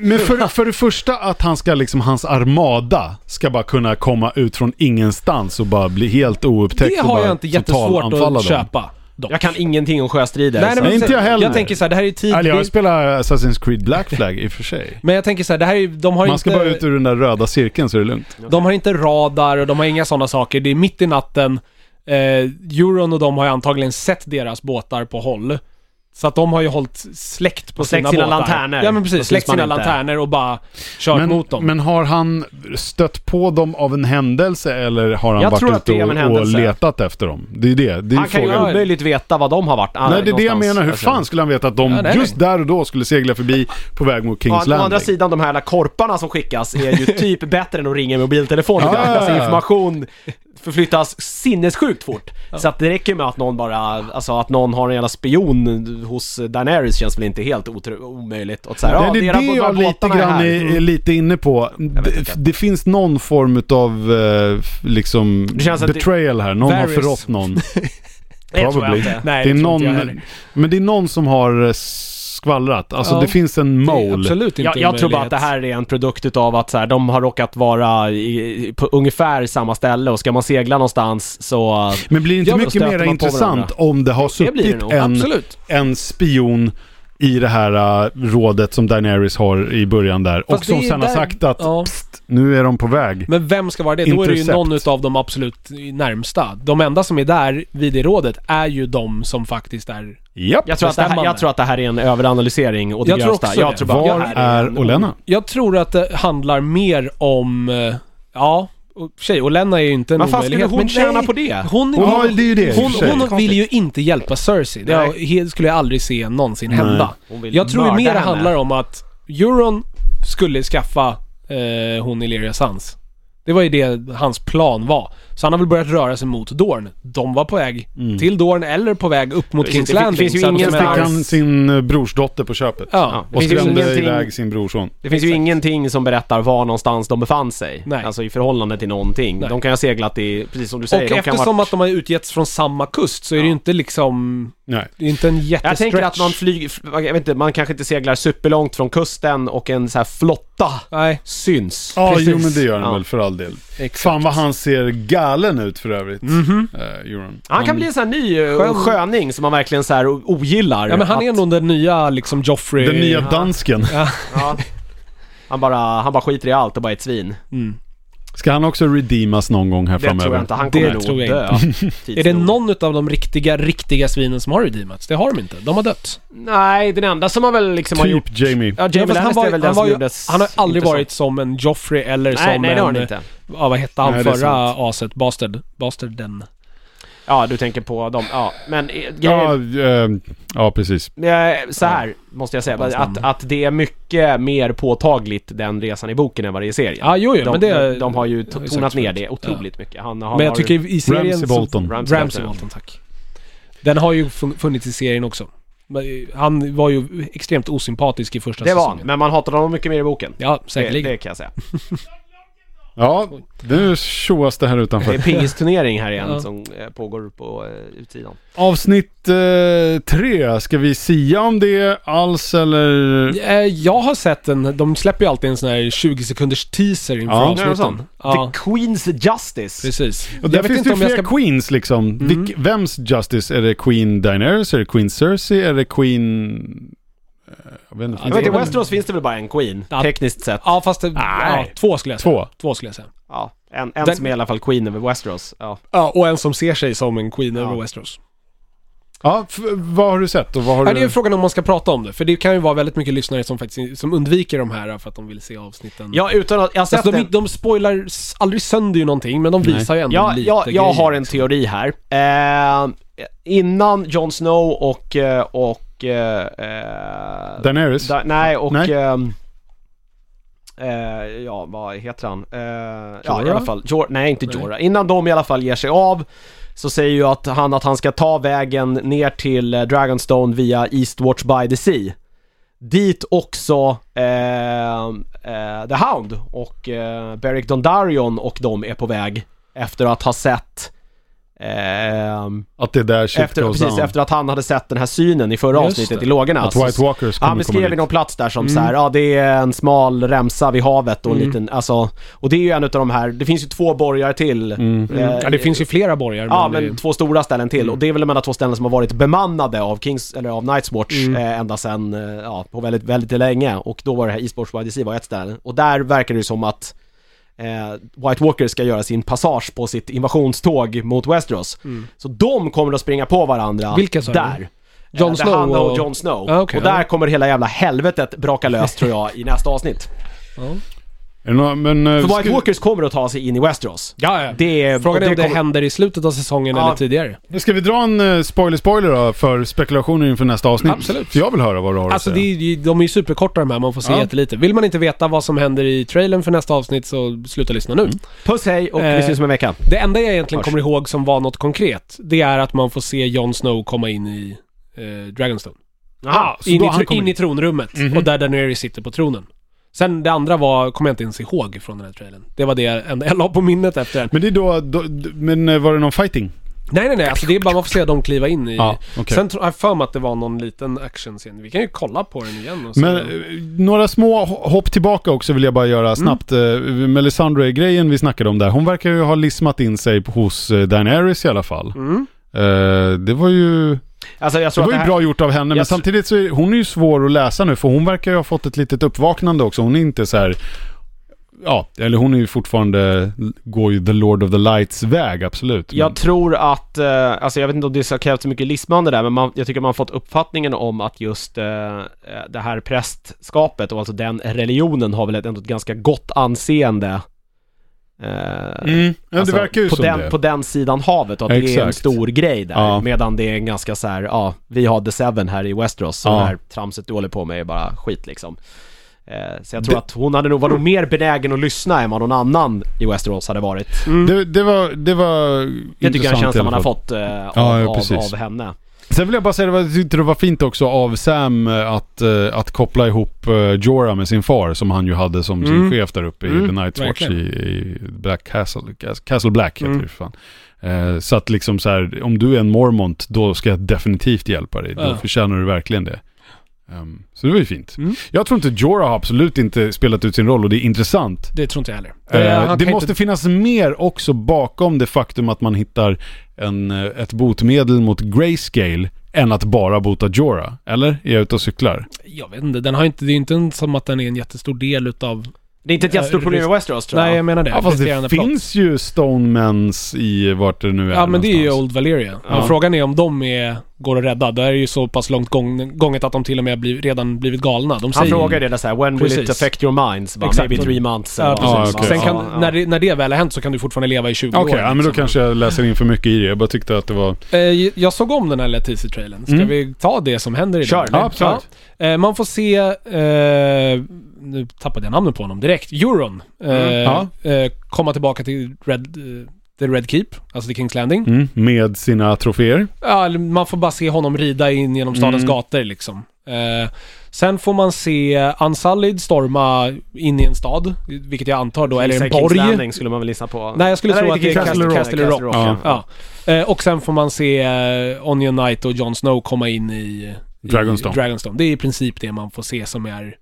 S1: Men för, för det första att han ska liksom, hans armada ska bara kunna komma ut från ingenstans och bara bli helt oupptäckt
S3: Det
S1: och
S3: har
S1: bara
S3: jag inte jättesvårt
S1: totalanfalla dem.
S3: att köpa. Dock.
S2: Jag kan ingenting om sjöstrider.
S3: Nej, nej,
S2: så-
S3: men
S1: Nej, inte
S3: så-
S1: jag heller.
S3: Jag tänker så här, det här är ju tid.
S1: Eller jag
S3: det-
S1: spelar Assassin's Creed Black Flag i och för sig.
S3: Men jag tänker så här, det här är ju- de har
S1: Man ska
S3: inte...
S1: bara ut ur den där röda cirkeln så är det lugnt.
S3: De har inte radar och de har inga sådana saker. Det är mitt i natten. Eh, Euron och de har ju antagligen sett deras båtar på håll. Så att de har ju hållit släkt på
S2: Och släckt
S3: sina,
S2: sina
S3: båtar.
S2: lanterner.
S3: Ja men
S2: Då
S3: precis,
S2: syns
S3: släckt
S2: man
S3: sina
S2: inte.
S3: lanterner och bara kört
S1: Men,
S3: mot dem.
S1: men har han stött på dem av en händelse eller har han
S2: Jag tror
S1: varit
S2: att det är
S1: ute
S2: av en
S1: och, och
S2: händelse.
S1: letat efter dem? Det är det. Det är
S2: Han kan ju
S1: frågan.
S2: omöjligt veta vad de har varit.
S1: Nej, det är det jag menar. Hur fan skulle han veta att de
S3: Ja, nej,
S1: just där och då skulle segla förbi på väg mot
S2: Å
S1: Kings
S2: å andra
S1: Landing?
S2: sidan, de här alla korparna som skickas är ju typ bättre än att ringa i mobiltelefon.
S1: Ja, ja, ja.
S2: Alltså information förflyttas sinnessjukt fort. Så att det räcker med att någon bara, alltså att någon har en jävla spion hos Daenerys känns väl inte helt otro- omöjligt. Och så här,
S1: Nej,
S2: ja,
S1: det är
S2: era-
S1: det
S2: båda
S1: jag lite
S2: båtarna är
S1: grann
S2: här. Mm.
S1: är, är lite inne på. Det, det finns någon form av liksom
S2: Det känns att det-
S1: betrayal här. Någon har
S3: Varys.
S1: förrått någon.
S2: Det tror jag
S1: Probably.
S2: inte.
S3: Nej,
S1: det är
S3: tror inte jag
S1: någon,
S3: heller.
S1: men det är någon som har eh, skvallrat. Alltså
S3: Ja.
S1: det finns en
S3: Det är
S1: mole.
S3: Absolut inte
S2: Jag, jag tror bara att
S3: omöjligt.
S2: det här är en produkt utav att så här, de har råkat vara i, på ungefär samma ställe och ska man segla någonstans så...
S1: Men blir det inte
S2: Ja, då
S1: mycket
S2: stöter
S1: mer
S2: man på
S1: intressant
S2: varandra.
S1: om det har
S2: det blir det
S1: suttit
S2: nog.
S1: en,
S3: Absolut.
S1: en spion i det här eh, rådet som Daenerys har i början där.
S3: Fast
S1: och
S3: det
S1: som
S3: är
S1: sen har
S3: där-
S1: sagt att
S3: ja.
S1: pst, nu är de på väg.
S3: Men vem ska vara det? Då är det ju
S1: Intercept.
S3: någon utav de absolut närmsta. De enda som är där vid det rådet är ju de som faktiskt är...
S1: Japp.
S2: Jag tror, att det här, jag tror att det här är en överanalysering och det
S3: Jag tror
S2: grövsta.
S3: också
S2: Jag
S3: det.
S2: tror bara
S1: Var
S2: det här
S1: är
S2: en-
S1: Olenna?
S3: Jag tror att det handlar mer om... eh, Ja, och tjej, och Lena är ju inte en
S2: Vad fan skulle
S3: omöjlighet.
S2: hon tjäna
S3: nej,
S2: på det?
S3: Hon,
S1: Ja,
S3: hon,
S1: det är ju det i och
S3: hon,
S1: för sig.
S3: hon vill ju inte hjälpa Cersei. Det
S2: Nej.
S3: har- he- skulle jag aldrig se någonsin hända.
S2: Hon vill
S3: Jag tror ju
S2: mörda
S3: mer det
S2: henne.
S3: handlar om att Euron skulle skaffa eh, hon Illyria Sans. Det var ju det hans plan var. Så han har väl börjat röra sig mot Dorn. De var på väg
S1: Mm.
S3: till Dorn eller på väg upp mot
S2: Precis,
S3: Kings
S2: det fin-
S3: Landing.
S2: finns ju
S3: så att de
S1: Sen
S2: ingen
S3: är-
S1: fick han sin eh, brorsdotter på köpet.
S3: Ja.
S2: Det
S1: Och
S2: finns ju
S1: skrämde
S2: ingenting-
S1: iväg sin brorson.
S2: Det finns ju ingenting som berättar var någonstans de befann sig.
S3: Nej.
S2: Alltså i förhållande till någonting.
S3: Nej.
S2: De kan ju ha seglat i, precis som du säger, de
S3: och
S2: kan
S3: eftersom
S2: ha varit-
S3: att de har utgetts från samma kust så är det ju inte liksom...
S1: Nej.
S3: Det är inte en
S2: Jag
S3: jättestretch.
S2: tänker att man flyger, jag vet inte, man kanske inte seglar superlångt från kusten och en så här flotta
S3: Nej,
S2: syns.
S1: Ja,
S3: Precis.
S1: jo men det gör han
S2: Ja.
S1: väl för all del.
S3: exakt.
S1: Fan vad han ser galen ut för övrigt.
S2: Mhm.
S1: Eh, Euron.
S2: Han kan bli en sån här ny eh,
S3: Skön.
S2: sköning som man verkligen så här o- ogillar.
S3: Ja men han är
S2: Att-
S3: nog den nya liksom Joffrey...
S1: Den nya dansken.
S2: ja. Han bara, han bara skiter i allt och bara är ett svin.
S3: Mm.
S1: Ska han också redeemas någon gång här
S2: Det
S1: framöver?
S2: tror jag inte. Han
S3: Det
S2: kommer nog
S3: tror jag
S2: dö.
S3: Är det någon utav de riktiga, riktiga svinen som har redeemats? Det har de inte. De har dött.
S2: Nej, den enda som har väl liksom har gjort...
S1: Typ Jamie.
S2: Ja,
S3: Ja,
S2: Jamie
S3: fast han,
S2: Lannister
S3: var,
S2: är väl
S3: han,
S2: den
S3: var
S2: som
S3: ju,
S2: gjordes...
S3: han har aldrig
S2: intressant.
S3: varit som en Joffrey eller
S2: Nej,
S3: som
S2: nej det har
S3: en...
S2: han inte.
S3: Ja, vad hette han
S1: Nej, det är
S3: förra aset? Bastard? Bastarden?
S2: Ja, du tänker på dem. Ja, men eh,
S1: Ja,
S2: grejen...
S1: eh, ja, precis.
S2: eh, Så här måste jag säga,
S3: Hans namn.
S2: att, att det är mycket mer påtagligt den resan i boken än vad det är i serien.
S3: Ja, jo, jo,
S2: de,
S3: men det...
S2: de, de har ju
S3: det har
S2: to-
S3: jag
S2: tonat
S3: sagt
S2: ner
S3: förut.
S2: det otroligt mycket. Han, han
S3: Men
S2: har-
S3: jag tycker i serien...
S1: Ramsey
S3: så-
S1: Bolton.
S2: Ramsey
S3: Ramsey
S2: Bolton.
S3: Bolton, tack. Den har ju fun- funnits i serien också. Men, eh, Han var ju extremt osympatisk i första
S2: Det var han,
S3: säsongen.
S2: men man hatar honom mycket mer i boken.
S3: Ja,
S2: Det,
S3: säkerligen.
S2: det kan jag säga.
S1: Ja, nu tjoas det här
S2: Det är
S1: utanför.
S2: pingisturnering här igen
S3: Ja.
S2: som eh, pågår på eh, utsidan.
S1: Avsnitt eh, tre, ska vi sia om det alls eller?
S3: Eh, Jag har sett en, de släpper ju alltid en sån här 20 sekunders teaser inför
S1: Ja, det är
S2: Nu är det
S3: avsnitten.
S2: sån.
S3: Ja,
S2: The Queen's Justice.
S3: precis.
S1: Och där finns det ju flera queens liksom. Vilk, vems Justice? Är det Queen Daenerys? Är det Queen Cersei? Är det Queen... eh, Jag vet inte.
S3: Ja,
S1: finns
S2: Jag vet,
S1: det
S2: I
S3: det-
S2: Westeros finns det väl bara en Queen,
S3: Ja.
S2: tekniskt sett.
S3: Ja, fast det, ja,
S1: Nej.
S3: två skulle jag säga.
S1: Två.
S3: Två skulle jag säga.
S2: Ja, en, en
S3: Den-
S2: som är i alla fall Queen över Westeros. Ja.
S3: Ja, och en som ser sig som en queen
S2: Ja.
S3: över Westeros.
S1: Ja, f- vad har du sett och vad har
S3: Ja,
S1: du...
S3: det är ju frågan om man ska prata om det, för det kan ju vara väldigt mycket lyssnare som faktiskt som undviker de här för att de vill se avsnitten.
S2: ja, utan att... Jag har sett
S3: alltså, de,
S2: den.
S3: de spoilar s- aldrig sönder ju någonting, men de
S1: Nej.
S3: visar ju ändå
S2: Jag,
S3: lite
S2: jag, jag
S3: grejer. liksom.
S2: har en teori här. Eh, innan Jon Snow och... eh, och eh, eh,
S1: Daenerys?
S2: da, nej, och...
S1: Nej.
S2: ehm, eh, ja, vad heter han? Eh, ja, i
S3: Jorah?
S2: alla fall. Jor, nej, inte
S3: Nej.
S2: Jorah. Innan de i alla fall ger sig av så säger ju att han att han ska ta vägen ner till eh, Dragonstone via Eastwatch by the Sea. Dit också eh, eh, The Hound och eh, Beric Dondarrion och de är på väg efter att ha sett ehm,
S1: Att det är där shit
S2: efter,
S1: goes
S2: precis,
S1: down?
S2: efter att han hade sett den här synen i förra
S3: Just
S2: avsnittet
S3: det.
S2: i lågorna.
S1: Att
S2: Så-
S1: White Walkers kommer
S2: han
S1: komma
S2: beskrev ju
S1: dit. Mm.
S2: någon plats där som så här, ja det är en smal remsa vid havet och en
S3: Mm.
S2: liten, alltså, och det är ju en utav de här, det finns ju två borgar till.
S1: Mm.
S2: eh,
S3: Ja, det finns ju Mm. flera borgar,
S2: Ja,
S3: men,
S2: men två stora ställen till. Och det är väl de enda två ställen som har varit bemannade av Kings, eller av Nightswatch
S3: Mm.
S2: eh, ända sedan, eh, ja, på väldigt, väldigt länge. Och då var det här Esports YDC var ett ställe. Och där verkar det ju som att eh, White Walker ska göra sin passage på sitt invasionståg mot Westeros. Så de kommer att springa på varandra
S3: Mm. Vilka sa du?
S2: där.
S3: Jon
S2: Eh, The
S3: Snow
S2: Hound och
S3: och-
S2: Jon Snow.
S3: Ja, okej,
S2: och där
S3: ja.
S2: kommer hela jävla helvetet braka lös tror jag i nästa avsnitt.
S3: Ja,
S1: Är det någon, men, eh,
S2: För White
S1: ska,
S2: Walkers kommer att ta sig in i Westeros.
S3: ja. ja.
S2: Det är...
S3: Frågan är
S2: och
S3: om det
S2: kommer-
S3: händer i slutet av säsongen
S2: Ja.
S3: eller tidigare.
S1: ska vi dra en eh, spoiler-spoiler då för spekulationer inför nästa avsnitt?
S3: Absolut.
S1: För jag vill höra vad du har
S3: Alltså
S1: att
S3: det
S1: säga.
S3: är, ju- de är ju superkorta de här, man får se
S1: Ja.
S3: jättelite. Vill man inte veta vad som händer i trailern för nästa avsnitt så sluta lyssna nu.
S2: Mm. Puss hej och vi
S3: Eh,
S2: syns om en vecka.
S3: Det enda jag egentligen
S2: Hörs.
S3: kommer ihåg som var något konkret, det är att man får se Jon Snow komma in i eh, Dragonstone.
S2: Aha,
S1: Så
S3: In
S1: då
S3: i,
S1: han
S3: tro-
S1: kommer
S3: in
S1: in. Mhm.
S3: i tronrummet och där Daenerys sitter på tronen. Sen det andra var, kommer jag inte ens ihåg från den här trailern. Det var det enda jag la på minnet efter den.
S1: Men det är då, då men eh, var det någon fighting?
S3: Nej nej nej, alltså det är bara man får se dem kliva in i...
S1: Ja, okej.
S3: Eh, Sen tror- har jag för mig att det var någon liten actionscen. Vi kan ju kolla på den igen och så.
S1: Men eh, några små ho- hopp tillbaka också vill jag bara göra snabbt. Mm. Melisandre-grejen vi snackade om där, hon verkar ju ha lismat in sig på- hos eh, Daenerys i alla fall.
S3: Mm.
S1: Eh, det var ju,
S2: Alltså jag
S1: det
S2: tror att
S1: var
S2: det
S1: ju
S2: här...
S1: bra gjort av henne, men
S2: Jag tr-
S1: samtidigt så är hon är ju svår att läsa nu för hon verkar ju ha fått ett litet uppvaknande också. Hon är inte så här, ja, eller hon är ju fortfarande, går ju the Lord of the Lights väg, absolut.
S2: Jag tror att, eh, alltså jag vet inte om det har krävts så mycket lismande där, men man, jag tycker man har fått uppfattningen om att just eh, eh, det här prästskapet och alltså den religionen har väl ett- ändå ett ganska gott anseende. eh,
S1: men, mm. ja,
S2: alltså,
S1: det verkar ju
S2: på
S1: som
S2: den,
S1: det.
S2: På den sidan havet och att det är en
S1: Exakt.
S2: stor grej där.
S1: Ja.
S2: Medan det är en ganska så här, ja, vi har The Seven här i Westeros, så
S1: Ja.
S2: det här tramset du håller på med är bara skit liksom. Eh, Så jag tror att hon hade nog, var nog mer benägen att lyssna än vad någon annan i Westeros hade varit.
S3: Mm.
S1: Det, det var, det var
S2: Det tycker jag är en
S1: intressant
S2: känsla
S1: i alla
S2: man har
S1: fall.
S2: fått eh, av,
S1: Ja, ja,
S2: av,
S1: precis.
S2: av henne.
S1: Sen vill jag bara säga att jag tyckte det var fint också av Sam eh, att, eh, att koppla ihop eh, Jorah med sin far som han ju hade som sin
S3: Mm.
S1: chef där uppe i
S3: Mm,
S1: The Night's Watch i,
S3: verkligen.
S1: i Black Castle, Cas- Castle Black heter
S3: Mm.
S1: det för fan. Eh, Så att liksom så här, om du är en mormont då ska jag definitivt hjälpa dig. Då
S3: Ja.
S1: förtjänar du verkligen det. Ehm, så det var ju fint.
S3: Mm.
S1: Jag tror inte Jorah har absolut inte spelat ut sin roll och det är intressant.
S3: Det tror inte jag heller.
S1: Eh,
S3: Eh, han
S1: det
S3: kan
S1: måste
S3: inte-
S1: finnas mer också bakom det faktum att man hittar en, eh, ett botemedel mot grayscale än att bara bota Jorah. Eller? Är jag ute och cyklar?
S3: Jag vet inte, den har inte, det är inte en- som att den är en jättestor del utav...
S2: Det är inte ett
S3: Ja,
S2: jättestort problem i Westeros tror jag.
S3: Nej jag menar det.
S1: Ja, fast det
S3: Resterande plott.
S1: finns ju Stonemans i vart det nu är
S3: Ja men det är ju
S1: någonstans.
S3: Old Valeria.
S2: Ja.
S3: Men frågan är om de är, går att rädda. Där är det ju så pass långt gång, gånget att de till och med blir, redan blivit galna. De
S2: Han
S3: säger
S2: frågar ju det där såhär, when will it
S3: Precis.
S2: affect your minds? Bara,
S3: Exakt.
S2: Maybe three months.
S3: Ja,
S2: eller vad
S3: precis.
S2: det var.
S1: okej.
S3: Sen kan,
S2: Ja, ja.
S3: När, det, när det väl har hänt så kan du fortfarande leva i 20
S1: Okej,
S3: år.
S1: ja, men då
S3: liksom.
S1: kanske jag läser in för mycket i det. Jag bara tyckte att det var...
S3: Eh, jag såg om den här Letizia-trailern. Ska
S1: Mm.
S3: vi ta det som händer i
S2: Kör.
S3: den?
S1: Ja, absolut.
S3: Ja. Eh, man får se... Eh, nu tappade jag namnet på honom direkt. Euron. Eh,
S1: Mm.
S3: eh, komma tillbaka till Red... Eh, The Red Keep, alltså The King's Landing.
S1: Mm, med sina troféer.
S3: Ja, eller man får bara se honom rida in genom stadens
S1: Mm.
S3: gator liksom. Eh, sen får man se Unsullied storma in i en stad, vilket jag antar då, eller
S2: Gissa
S3: en
S2: King's
S3: borg.
S2: Landing skulle man väl gissa på.
S3: Nej, jag skulle tro att
S2: inte
S3: det är
S2: Castle
S1: Castle Rock.
S2: Castle Rock.
S1: Ja.
S3: Ja. Eh, och sen får man se eh, Onion Knight och Jon Snow komma in i, i
S1: Dragonstone.
S3: Dragonstone. Det är i princip det man får se som är...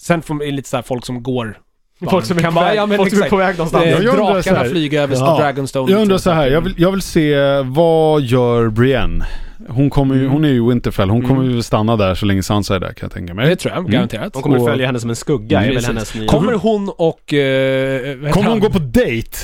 S3: Sen får man är det lite så här folk som går...
S2: Folk som är
S3: Kan
S2: på
S3: bara-
S2: väg-
S3: ja, men
S2: folk som är
S3: exakt.
S2: på väg någonstans.
S1: Jag
S3: Eh,
S1: undrar så
S3: drakarna
S1: här-
S3: flyger över
S1: Ja.
S3: Dragonstone. typ
S1: Jag undrar så här, jag vill, jag vill se vad gör Brienne? Hon, kommer ju, hon är ju i Winterfell, hon kommer ju stanna där så länge Sansa är där kan jag tänka mig.
S3: Mm. Det tror jag, garanterat.
S2: De kommer
S1: Och-
S2: följa henne som en skugga, är väl
S3: Precis.
S2: hennes nya...
S3: Kommer hon och... eh, vad heter
S1: Kommer hon
S3: han?
S1: gå på dejt?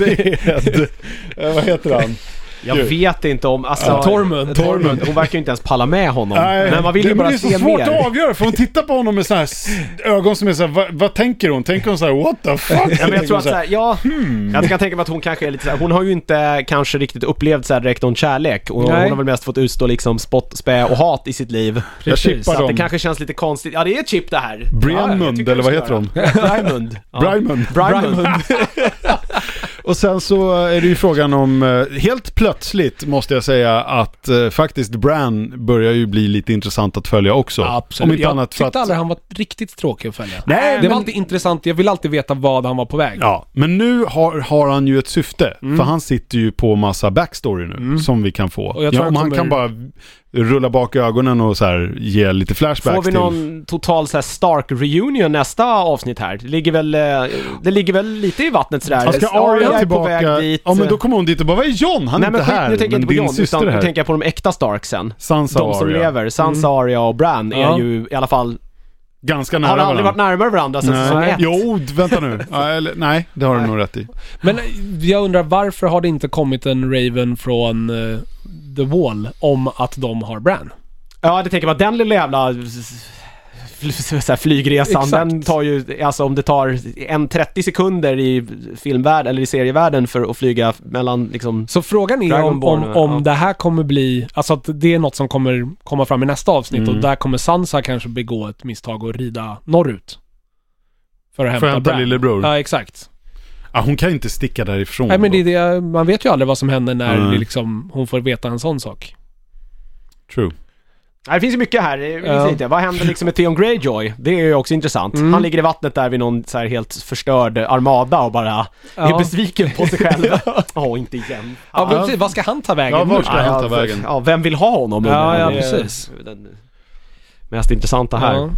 S1: Med, eh, vad heter han?
S2: Jag vet inte om... Alltså,
S3: Ja, Tormund.
S2: Tormund. Hon verkar ju inte ens palla med honom. men man vill
S1: det,
S2: ju
S1: men
S2: bara
S1: det är så
S2: se
S1: svårt att
S2: mer.
S1: avgöra för hon tittar på honom med så här s- ögon som är så här, vad, vad tänker hon? Tänker hon så här, what the fuck?
S2: Ja, men jag tror att
S1: så här,
S2: såhär, ja,
S1: Hmm.
S2: jag kan tänka mig att hon kanske är lite såhär, hon har ju inte kanske riktigt upplevt såhär direkt någon kärlek och
S3: Nej.
S2: hon har väl mest fått utstå liksom spott, spä och hat i sitt liv.
S1: jag
S3: precis,
S2: Så
S1: chippar
S2: att det
S1: dem.
S2: kanske känns lite konstigt. Ja det är ett chip det här.
S1: Brianmund, eller vad heter de?
S2: Brymund.
S1: Brymund.
S2: Brymund.
S1: Och sen så är det ju frågan om, eh, helt plötsligt måste jag säga att eh, faktiskt Bran börjar ju bli lite intressant att följa också.
S3: Absolut.
S1: Om inte
S3: jag
S1: annat för
S3: tyckte
S1: att...
S3: aldrig han var riktigt tråkig att följa.
S1: Nej,
S3: det
S1: men-
S3: var alltid intressant, jag ville alltid veta vad han var på väg.
S1: Ja, men nu har, har han ju ett syfte.
S2: Mm.
S1: För han sitter ju på massa backstory nu som vi kan få.
S3: Och jag
S1: ja,
S3: tror
S1: om
S3: han
S1: han kan
S3: kommer-
S1: bara rulla bak ögonen och så här ge lite flashbacks
S2: Får vi
S1: till...
S2: någon total såhär Stark reunion nästa avsnitt här? Det ligger väl, eh, det ligger väl lite i vattnet sådär.
S1: Han ska
S2: är
S1: Arya
S2: på
S1: tillbaka.
S2: väg dit.
S1: Ja men då kommer hon dit och bara, vad är John? Han är
S2: Nej men
S1: inte
S2: skit,
S1: här.
S2: nu tänker jag
S1: men
S2: inte på
S1: din
S2: Jon,
S1: syster
S2: utan
S1: är
S2: nu
S1: här.
S2: tänker jag på de äkta Starksen.
S1: Sansa
S2: De
S1: och
S2: som
S1: Arya.
S2: lever. Sansa, Arya och Bran är
S3: Mm. Ja.
S2: ju i alla fall...
S1: Ganska nära
S2: Har aldrig varit
S1: varandra.
S2: närmare varandra sen säsong
S1: Nej.
S2: ett.
S1: Jo, vänta nu. Ja, eller, nej, det har du
S2: Nej.
S1: nog rätt i.
S3: Men eh, jag undrar varför har det inte kommit en Raven från eh, The Wall om att de har Bran?
S2: Ja, det tänker man. Den lilla jävla... fl- Så här flygresan,
S3: Exakt.
S2: den tar ju, alltså om det tar en 30 sekunder i filmvärlden, eller i serievärlden för att flyga mellan liksom...
S3: Så frågan är om,
S2: Dragonborn,
S3: om, om
S2: ja.
S3: det här kommer bli, alltså att det är något som kommer komma fram i nästa avsnitt och där kommer Sansa kanske begå ett misstag och rida norrut. För att hämta,
S1: För att hämta
S3: Bran.
S1: lillebror.
S3: Ja, exakt.
S1: Ja, hon kan inte sticka därifrån.
S3: Nej men det är det, man vet ju aldrig vad som händer när
S1: Mm.
S3: det liksom, hon får veta en sån sak.
S1: True.
S2: Nej, det finns ju mycket här, det
S3: Ja.
S2: finns inte. Vad händer liksom med Theon Greyjoy? Det är ju också intressant.
S3: Mm.
S2: Han ligger i vattnet där vid någon så här helt förstörd armada och bara är
S3: Ja.
S2: besviken på sig själv. Åh, inte igen.
S3: Ja, men precis. Vad ska han ta vägen
S1: Ja,
S3: nu?
S1: vart ska han ta vägen?
S2: Ja, vem vill ha honom?
S3: Ja,
S2: undrar jag.
S3: ja,
S2: Det är
S3: precis.
S2: Den mest intressanta här.
S3: Ja.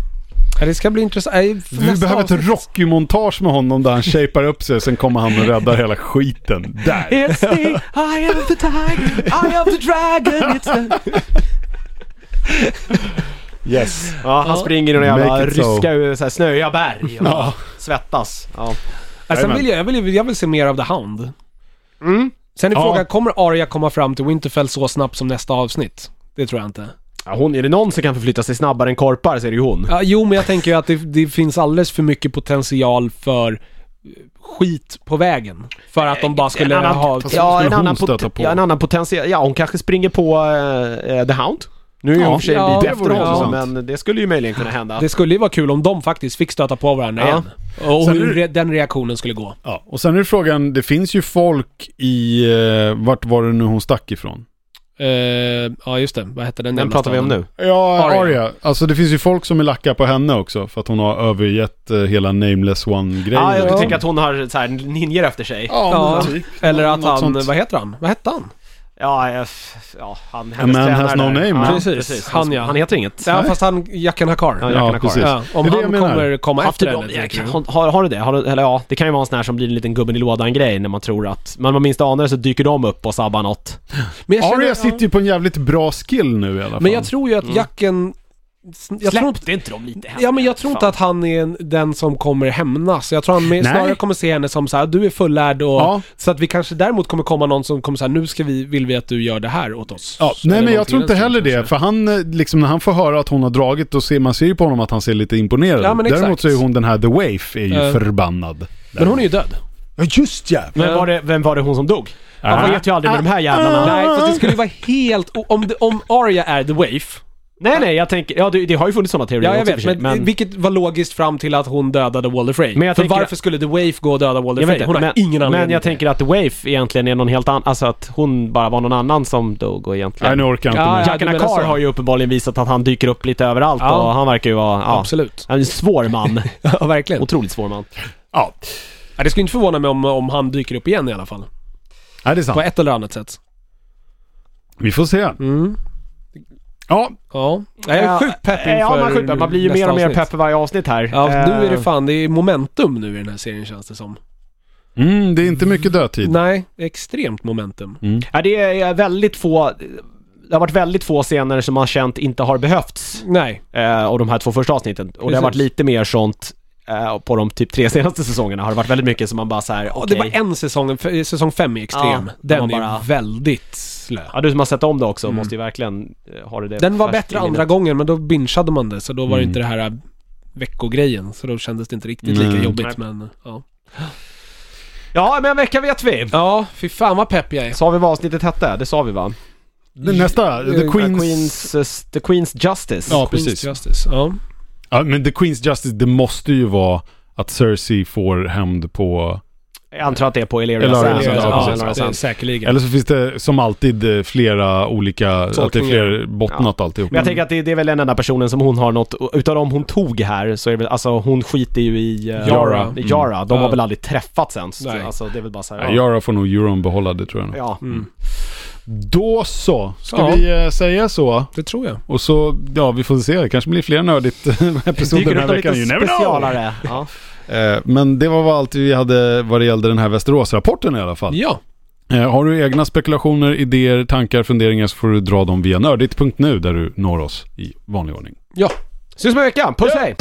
S3: Ja, det ska bli intressant. Nej, för
S1: Vi
S3: nästa
S1: behöver ett
S3: avsnitt-
S1: Rocky-montage med honom där han shapear upp sig, sen kommer han och räddar hela skiten. Där!
S2: It's the eye of the tiger, eye of the dragon, it's the...
S1: Yes.
S2: Ja, han
S3: Ja.
S2: springer i några jävla
S1: Make it so.
S2: ryska eh, så här, snöiga berg och
S1: Ja.
S2: svettas. Ja.
S3: Ja, sen
S1: Jajamän.
S3: vill Alltså, jag, jag, vill, jag vill se mer av The Hound.
S2: Mm.
S3: Sen är
S1: Ja.
S3: frågan, kommer Arya komma fram till Winterfell så snabbt som nästa avsnitt? Det tror jag inte.
S2: Ja, hon, är det någon som kan förflytta sig snabbare än korpar så är det ju hon.
S3: Ja, jo, men jag tänker ju att det, det finns alldeles för mycket potential för eh, skit på vägen. För att de bara skulle
S2: En annan-
S3: ha...
S1: Fast-
S2: ja,
S1: skulle
S2: en
S1: hon
S2: annan,
S1: stöta
S2: pot-
S1: på?
S2: ja, en annan potentiell... Ja, hon kanske springer på eh, eh, The Hound. Nu är ju
S1: Ja.
S2: i och för sig en
S3: Ja,
S2: bit
S3: det vore
S2: efter honom,
S1: intressant.
S2: men det skulle ju möjligen kunna hända.
S3: Det skulle ju vara kul om de faktiskt fick stöta på varandra
S2: Ja.
S3: igen. Och
S1: Sen
S3: hur
S1: är
S3: re- den reaktionen skulle gå.
S1: Ja, och sen är frågan, det finns ju folk i, eh, vart var det nu hon stack ifrån?
S3: Eh, ja just det, vad hette den
S2: Den
S3: jävla
S2: pratar vi om
S3: staden?
S2: nu.
S1: Ja,
S3: Arya.
S1: Arya. Alltså det finns ju folk som är lacka på henne också för att hon har övergett eh, hela Nameless One-grejen.
S2: Ja, jag
S3: Ja.
S2: tänker att hon har så här ninjer efter sig.
S3: Ja,
S1: men typ.
S3: Eller att
S1: Något
S3: han,
S1: sånt.
S3: vad heter han? Vad hette han?
S2: Ja, jag- ja han, hennes
S1: man
S2: tränare
S1: has no
S2: där.
S1: name,
S2: ja,
S1: man.
S2: precis. Han,
S3: Han, ja.
S2: han heter inget.
S3: Ja, fast han, Jacken Hakar.
S2: Ja,
S1: Ja,
S2: Jackan har
S1: precis.
S2: kvar.
S3: Ja, om
S1: Det är det
S3: han
S1: jag menar.
S3: kommer komma
S2: Haft
S3: efter
S2: det,
S3: henne.
S2: ja,
S3: tänker jag.
S2: har, har, har du det? Har, du- eller ja, det kan ju vara en sån här som blir en liten gubben i lådan grej när man tror att... Men man minst anar det så dyker de upp och sabbar något.
S3: Men jag,
S1: Arya
S3: känner,
S1: sitter ju på en jävligt bra skill nu i alla fall.
S3: men jag tror ju
S2: Mm.
S3: att Jacken... Jag tror inte,
S2: Släppte inte de lite henne?
S3: ja, men jag tror inte att han är en- den som kommer hämnas. Jag tror han mer,
S1: Nej.
S3: snarare kommer se henne som så här, du är fullärd och...
S1: Ja.
S3: Så att vi kanske däremot kommer komma någon som kommer säga nu ska vi, vill vi att du gör det här åt oss.
S1: Ja,
S3: Eller
S1: nej men jag
S3: någonting
S1: tror
S3: i
S1: inte
S3: den
S1: heller
S3: stilen,
S1: det.
S3: kanske.
S1: För han, eh, liksom, när han får höra att hon har dragit, då ser man ser ju på honom att han ser lite imponerad
S3: Ja,
S1: ut.
S3: men
S1: Däremot
S3: exakt.
S1: så är hon den här The Waif, är ju
S3: Eh.
S1: förbannad.
S3: Men hon är ju död.
S1: Ja just ja!
S2: Men var det, vem var det hon som dog?
S1: Ah.
S2: Man vet ju aldrig med de här jävlarna.
S3: Nej, fast det skulle ju vara helt... o- Om, det- om Arya är the waif,
S2: Nej, nej, jag tänker... Ja, det, det har ju funnits såna teorier
S3: Ja, jag
S2: också i och
S3: vet.
S2: för sig,
S3: Men, vilket var logiskt fram till att hon dödade Walder Frey.
S2: Men jag
S3: För
S2: tänker-
S3: varför skulle The Wave gå och döda Walder
S2: Jag
S3: Frey?
S2: vet inte,
S3: hon har
S2: men,
S3: ingen anledning.
S2: men jag tänker att The Waif egentligen är någon helt annan, alltså att hon bara var någon annan som dog och
S1: Nej
S2: egentligen...
S1: nu orkar jag inte
S3: Ja,
S1: mer.
S3: ja.
S2: Jackan
S3: du menar
S2: Akar
S3: så.
S2: har ju uppenbarligen visat att han dyker upp lite överallt
S3: Ja.
S2: och han verkar ju vara... Ja,
S3: Absolut.
S2: En svår man.
S3: Ja, verkligen.
S2: Otroligt svår man.
S1: Ja.
S3: Ja, det skulle inte förvåna mig om, om han dyker upp igen i alla fall.
S1: Nej det är
S3: På
S1: sant.
S3: ett eller annat sätt.
S1: Vi får se.
S3: Mm.
S1: Ja,
S3: Ja. ja jag är sjukt pepp inför
S2: Ja, man, är sjukt pepp. man blir ju
S3: nästa
S2: mer och mer
S3: avsnitt.
S2: pepp för varje avsnitt här.
S3: Ja, nu är det
S2: Eh,
S3: fan, det är momentum nu i den här serien känns det som.
S1: mm, det är inte mycket dödtid.
S3: Nej, extremt momentum.
S2: Ja, det är väldigt få... Det har varit väldigt få scener som man känt inte har behövts
S3: Nej.
S2: eh, av de här två första avsnitten. Och det har
S3: Precis.
S2: varit lite mer sånt eh, på de typ tre senaste säsongerna har det varit väldigt mycket som man bara såhär, okej.
S3: Och Det var en säsong, f- säsong fem är extrem.
S2: Ja,
S3: den är
S2: den var bara-
S3: väldigt slö.
S2: Ja, du som har sett om det också måste ju verkligen eh, ha det där
S3: Den var
S2: färskt
S3: bättre
S2: i minnet.
S3: andra gången men då bingeade man det så då var det inte det här äh, veckogrejen så då kändes det inte riktigt lika
S1: Nej.
S3: jobbigt men ja.
S2: Ja, men en vecka vet vi!
S3: Ja, fy fan vad pepp jag är.
S2: Sa vi vad avsnittet hette? Det sa vi va?
S1: Nästa, The
S3: Eh,
S1: Queens...
S2: The Queens, eh, The Queens Justice.
S1: Ja,
S3: Queen's
S1: precis.
S3: Justice. Ja.
S1: Ja, men The Queens Justice, det måste ju vara att Cersei får hämnd på...
S2: Jag antar att det är på Elera
S1: Eller-
S2: Sand.
S1: precis.
S3: Ja,
S1: Ja,
S2: Ja,
S1: precis.
S2: Elera
S3: det är
S2: Sand.
S3: säkerligen.
S1: Eller så finns det som alltid eh, flera olika... Att det är
S3: Tolkningar.
S1: fler bottnat alltihop.
S2: Men jag tänker att det, det är väl den enda personen som hon har något, och utav dem hon tog här så är det väl, alltså hon skiter ju i eh,
S3: Yara.
S2: i Yara. De har
S3: Ja.
S2: väl aldrig träffats ens.
S3: Nej.
S2: Alltså det är väl bara så här,
S1: Ja, Yara får nog euron behålla det tror jag nog.
S2: ja.
S1: Då så, ska
S3: Ja.
S1: vi eh, säga så?
S3: Det tror jag.
S1: Och så, ja vi får se, det kanske blir fler nördigt episoder
S2: Dyker
S1: den här
S2: upp någon
S1: veckan.
S2: lite
S1: You never know!
S2: specialare. Ja.
S1: Eh, Men det var vad allt vi hade vad det gällde den här Västeråsrapporten i alla fall.
S3: Ja,
S1: Eh, Har du egna spekulationer, idéer, tankar, funderingar så får du dra dem via nördigt.nu där du når oss i vanlig ordning.
S3: ja.
S2: Syns om en vecka, puss hej!